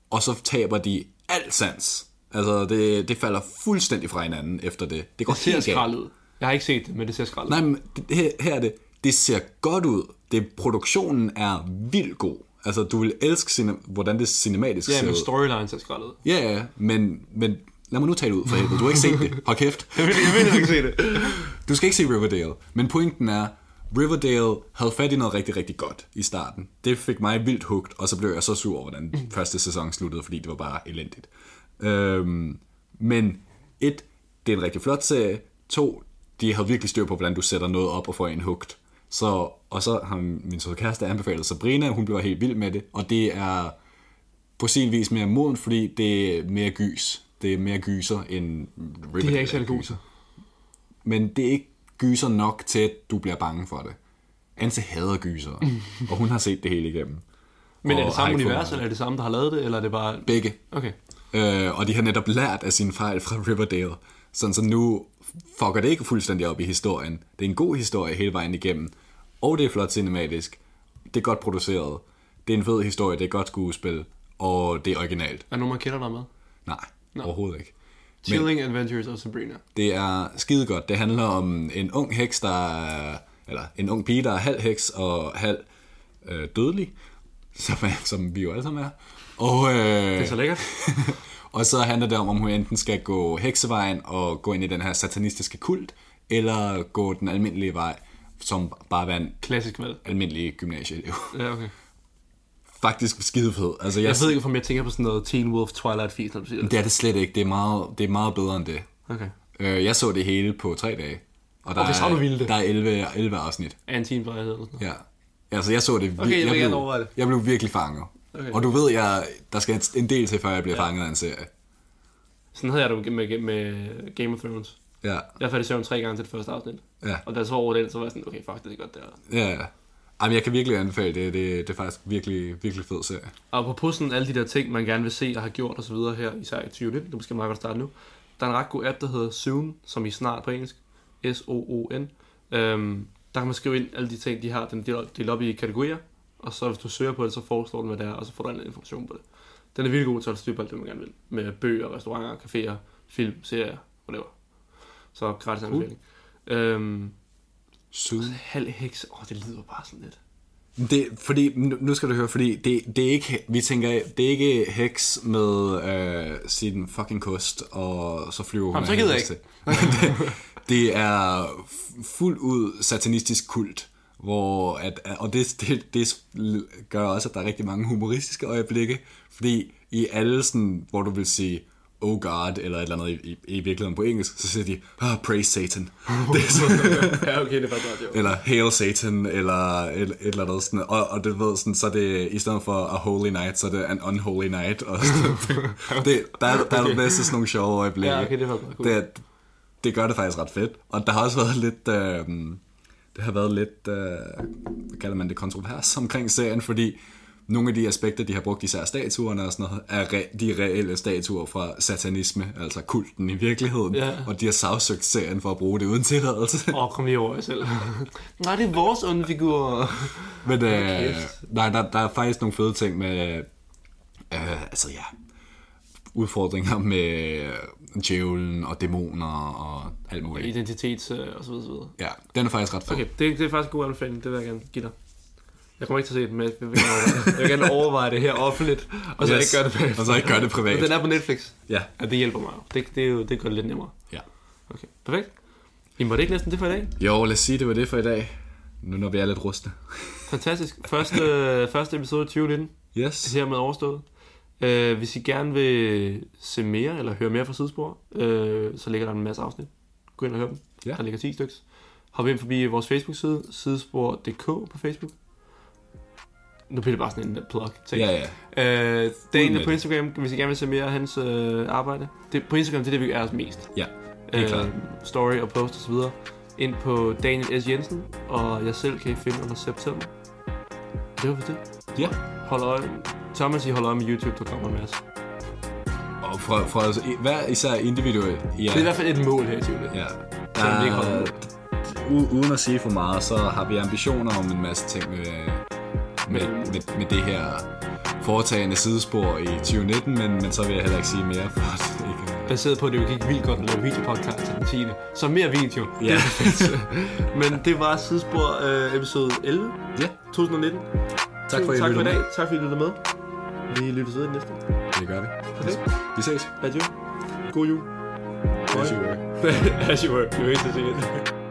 og så taber de alt sans. Altså, det, det falder fuldstændig fra hinanden efter det. Det går
Det ser
helt galt.
skraldet ud. Jeg har ikke set det, men det ser skraldet ud.
Nej, men det- her, her er det. Det ser godt ud. Det, produktionen er vildt god. Altså, du vil elske, cine, hvordan det cinematisk
Ja,
ser
men
ud.
storylines er skraldet ud.
Ja, ja, men, men lad mig nu tale ud for helvede. Du har ikke set det. Hold kæft.
Jeg vil, jeg vil ikke se det.
Du skal ikke se Riverdale. Men pointen er, Riverdale havde fat i noget rigtig, rigtig godt i starten. Det fik mig vildt hugt, og så blev jeg så sur over, hvordan den første sæson sluttede, fordi det var bare elendigt. Øhm, men et, det er en rigtig flot serie. To, de havde virkelig styr på, hvordan du sætter noget op og får en hugt. Så, og så har min søde kæreste anbefalet Sabrina, hun blev helt vild med det, og det er på sin vis mere modent, fordi det er mere gys. Det er mere gyser end Riverdale.
Det er ikke særlig
gyser
god.
men det er ikke gyser nok til, at du bliver bange for det. Anse hader gyser, og hun har set det hele igennem.
Men er
Og
det
har
samme
ikke fået
univers, eller er det samme, der har lavet det, eller er det bare...
Begge.
Okay.
Øh, og de har netop lært af sine fejl fra Riverdale. Sådan så nu fucker det ikke fuldstændig op i historien. Det er en god historie hele vejen igennem. Og det er flot cinematisk. Det er godt produceret. Det er en fed historie. Det er godt skuespil. Og det er originalt.
Er der nogen, man kender dig med?
Nej, no. overhovedet ikke.
Chilling Adventures of Sabrina.
Det er skide godt. Det handler om en ung heks, der er, eller en ung pige, der er halv heks og halv øh, dødelig, som, er, som vi jo alle sammen er. Og,
Det
øh,
er så lækkert.
og så handler det om, om hun enten skal gå heksevejen og gå ind i den her satanistiske kult, eller gå den almindelige vej, som bare være en
Klassisk valg.
almindelig gymnasieelev.
Ja, okay.
Faktisk skide fed. Altså, jeg,
Jeg ved ikke, om jeg tænker på sådan noget Teen Wolf Twilight Feast, når du siger det.
Det er det slet ikke. Det er meget, det er meget bedre end det.
Okay.
Øh, jeg så det hele på tre dage. Og der,
Okay, så er du vild.
er, der er 11, 11 afsnit.
Er en teen vejhed eller sådan noget.
Ja. Altså, jeg så det vir-
Okay, jeg vil
jeg,
gerne
blev,
overveje det.
jeg blev virkelig fanget.
Okay.
Okay. Og du ved, jeg, der skal en- en del til, før jeg bliver ja. fanget af en serie.
Sådan havde jeg det med, med Game of Thrones.
Ja,
Jeg faldt i søvn tre gange til det første afsnit.
ja,
Og da jeg så over den, så var jeg sådan, okay, fuck, det er godt der.
ja. ja. Jamen, jeg kan virkelig anbefale det. Det, det er faktisk virkelig, virkelig fed serie.
Og på sådan alle de der ting, man gerne vil se og har gjort osv. her, især i 2019, det er måske meget godt at starte nu. Der er en ret god app, der hedder Soon, som i snart på engelsk. S-O-O-N. Øhm, der kan man skrive ind alle de ting, de har. Den er delt- delt op i kategorier. Og så hvis du søger på det, så foreslår den, hvad det er, og så får du anden information på det. Den er virkelig god til at holde styr på alt det, man gerne vil. Med bøger, restauranter, caféer, film, serier, whatever. Så gratis anbefaling. Øhm,
Soon.
halv heks, åh, oh, det lyder bare sådan lidt.
Det, fordi, nu nu skal du høre, fordi det, det er ikke, vi tænker, det er ikke heks med øh, sin fucking kost, og så flyver hun
Jamen, så
af
gider jeg
helvede til. det, det er fu- fuldt ud satanistisk kult, hvor at, og det, det, det gør også, at der er rigtig mange humoristiske øjeblikke, fordi i alle sådan, hvor du vil sige, oh god, eller et eller andet i, i, i virkeligheden på engelsk, så siger de, oh, praise Satan. Det er sådan,
ja, okay, det er faktisk godt, jo.
eller Hail Satan, eller et, et eller andet sådan, og, og det ved sådan, så er det, i stedet for a holy night, så er det an unholy night, og sådan, det, der, er- der er okay. masser af sådan nogle sjove øjeblikke.
Ja, okay, det var godt, cool.
det, er- det gør det faktisk ret fedt, og der har også været lidt, øh, det har været lidt, øh, hvad kalder man det, kontrovers omkring serien, fordi nogle af de aspekter, de har brugt, især statuerne og sådan noget, er re- de reelle statuer fra satanisme, altså kulten i virkeligheden,
Ja.
og de har sagsøgt serien for at bruge det uden tilladelse.
Åh, oh, kom lige over jer selv. Nej, det er vores onde figur.
Men øh,
kæft.
nej, der, der er faktisk nogle fede ting med, øh, altså ja, udfordringer med øh, djævlen og dæmoner og alt muligt.
Identitet øh, og så videre, så videre.
Ja, den er faktisk ret fed.
Okay, det, det er faktisk en god anbefaling, det vil jeg gerne give dig. Jeg kommer ikke til at se den, men jeg vil gerne overveje det, jeg vil gerne overveje det her offentligt, og så yes. ikke gøre det bagefter.
Og så ikke gøre det privat.
Men Den er på Netflix,
Ja,
og det hjælper mig jo. Det, det, er jo, det gør det lidt nemmere.
ja.
Okay, perfekt. Jamen var det ikke næsten det for i dag?
Jo, lad os sige, det var det for i dag. Nu når vi er lidt rustne.
Fantastisk. Første, første episode 2019.
Yes.
hermed overstået. Øh, hvis I gerne vil se mere eller høre mere fra Sidespor, øh, så ligger der en masse afsnit. Gå ind og hør dem.
Ja.
Der ligger 10 stykker. Hop ind forbi vores Facebook-side, sidespor.dk på Facebook. Nu bliver det bare sådan en plug ting.
Ja, ja.
Øh,
med
Daniel
det.
på Instagram, hvis I gerne vil se mere af hans øh, arbejde. Det, på Instagram, det er det, vi er os mest. Øh,
Ja, helt klart.
Story og post osv. Ind på Daniel S. Jensen, og jeg selv kan I finde under september. Det var for det.
Ja.
Hold øje. Thomas, I holder øje med YouTube, der kommer en masse. Ja.
Og fra, fra os, hver især individuelt. Ja.
Det er i hvert fald et mål her i 2019.
Ja.
Selvom vi ikke holder
Der, u- uden at sige for meget, så har vi ambitioner om en masse ting med, med, med, med det her foretagende sidespor i 2019, men, men så vil jeg heller ikke sige mere, for at det ikke er-
Baseret på, at det jo gik vildt godt at lave videopodcast til den 10. Så mere video.
Ja.
Men det var Sidespor øh, episode 11,
ja.
2019.
Tak for, at I
tak for i
lyttede
dag. Tak fordi I lyttede med. Vi lyttes ved i næste.
med. Det gør vi.
Perfekt.
Vi ses.
Adieu. God jul.
As you were.
As you were. Du er ikke til at sige det.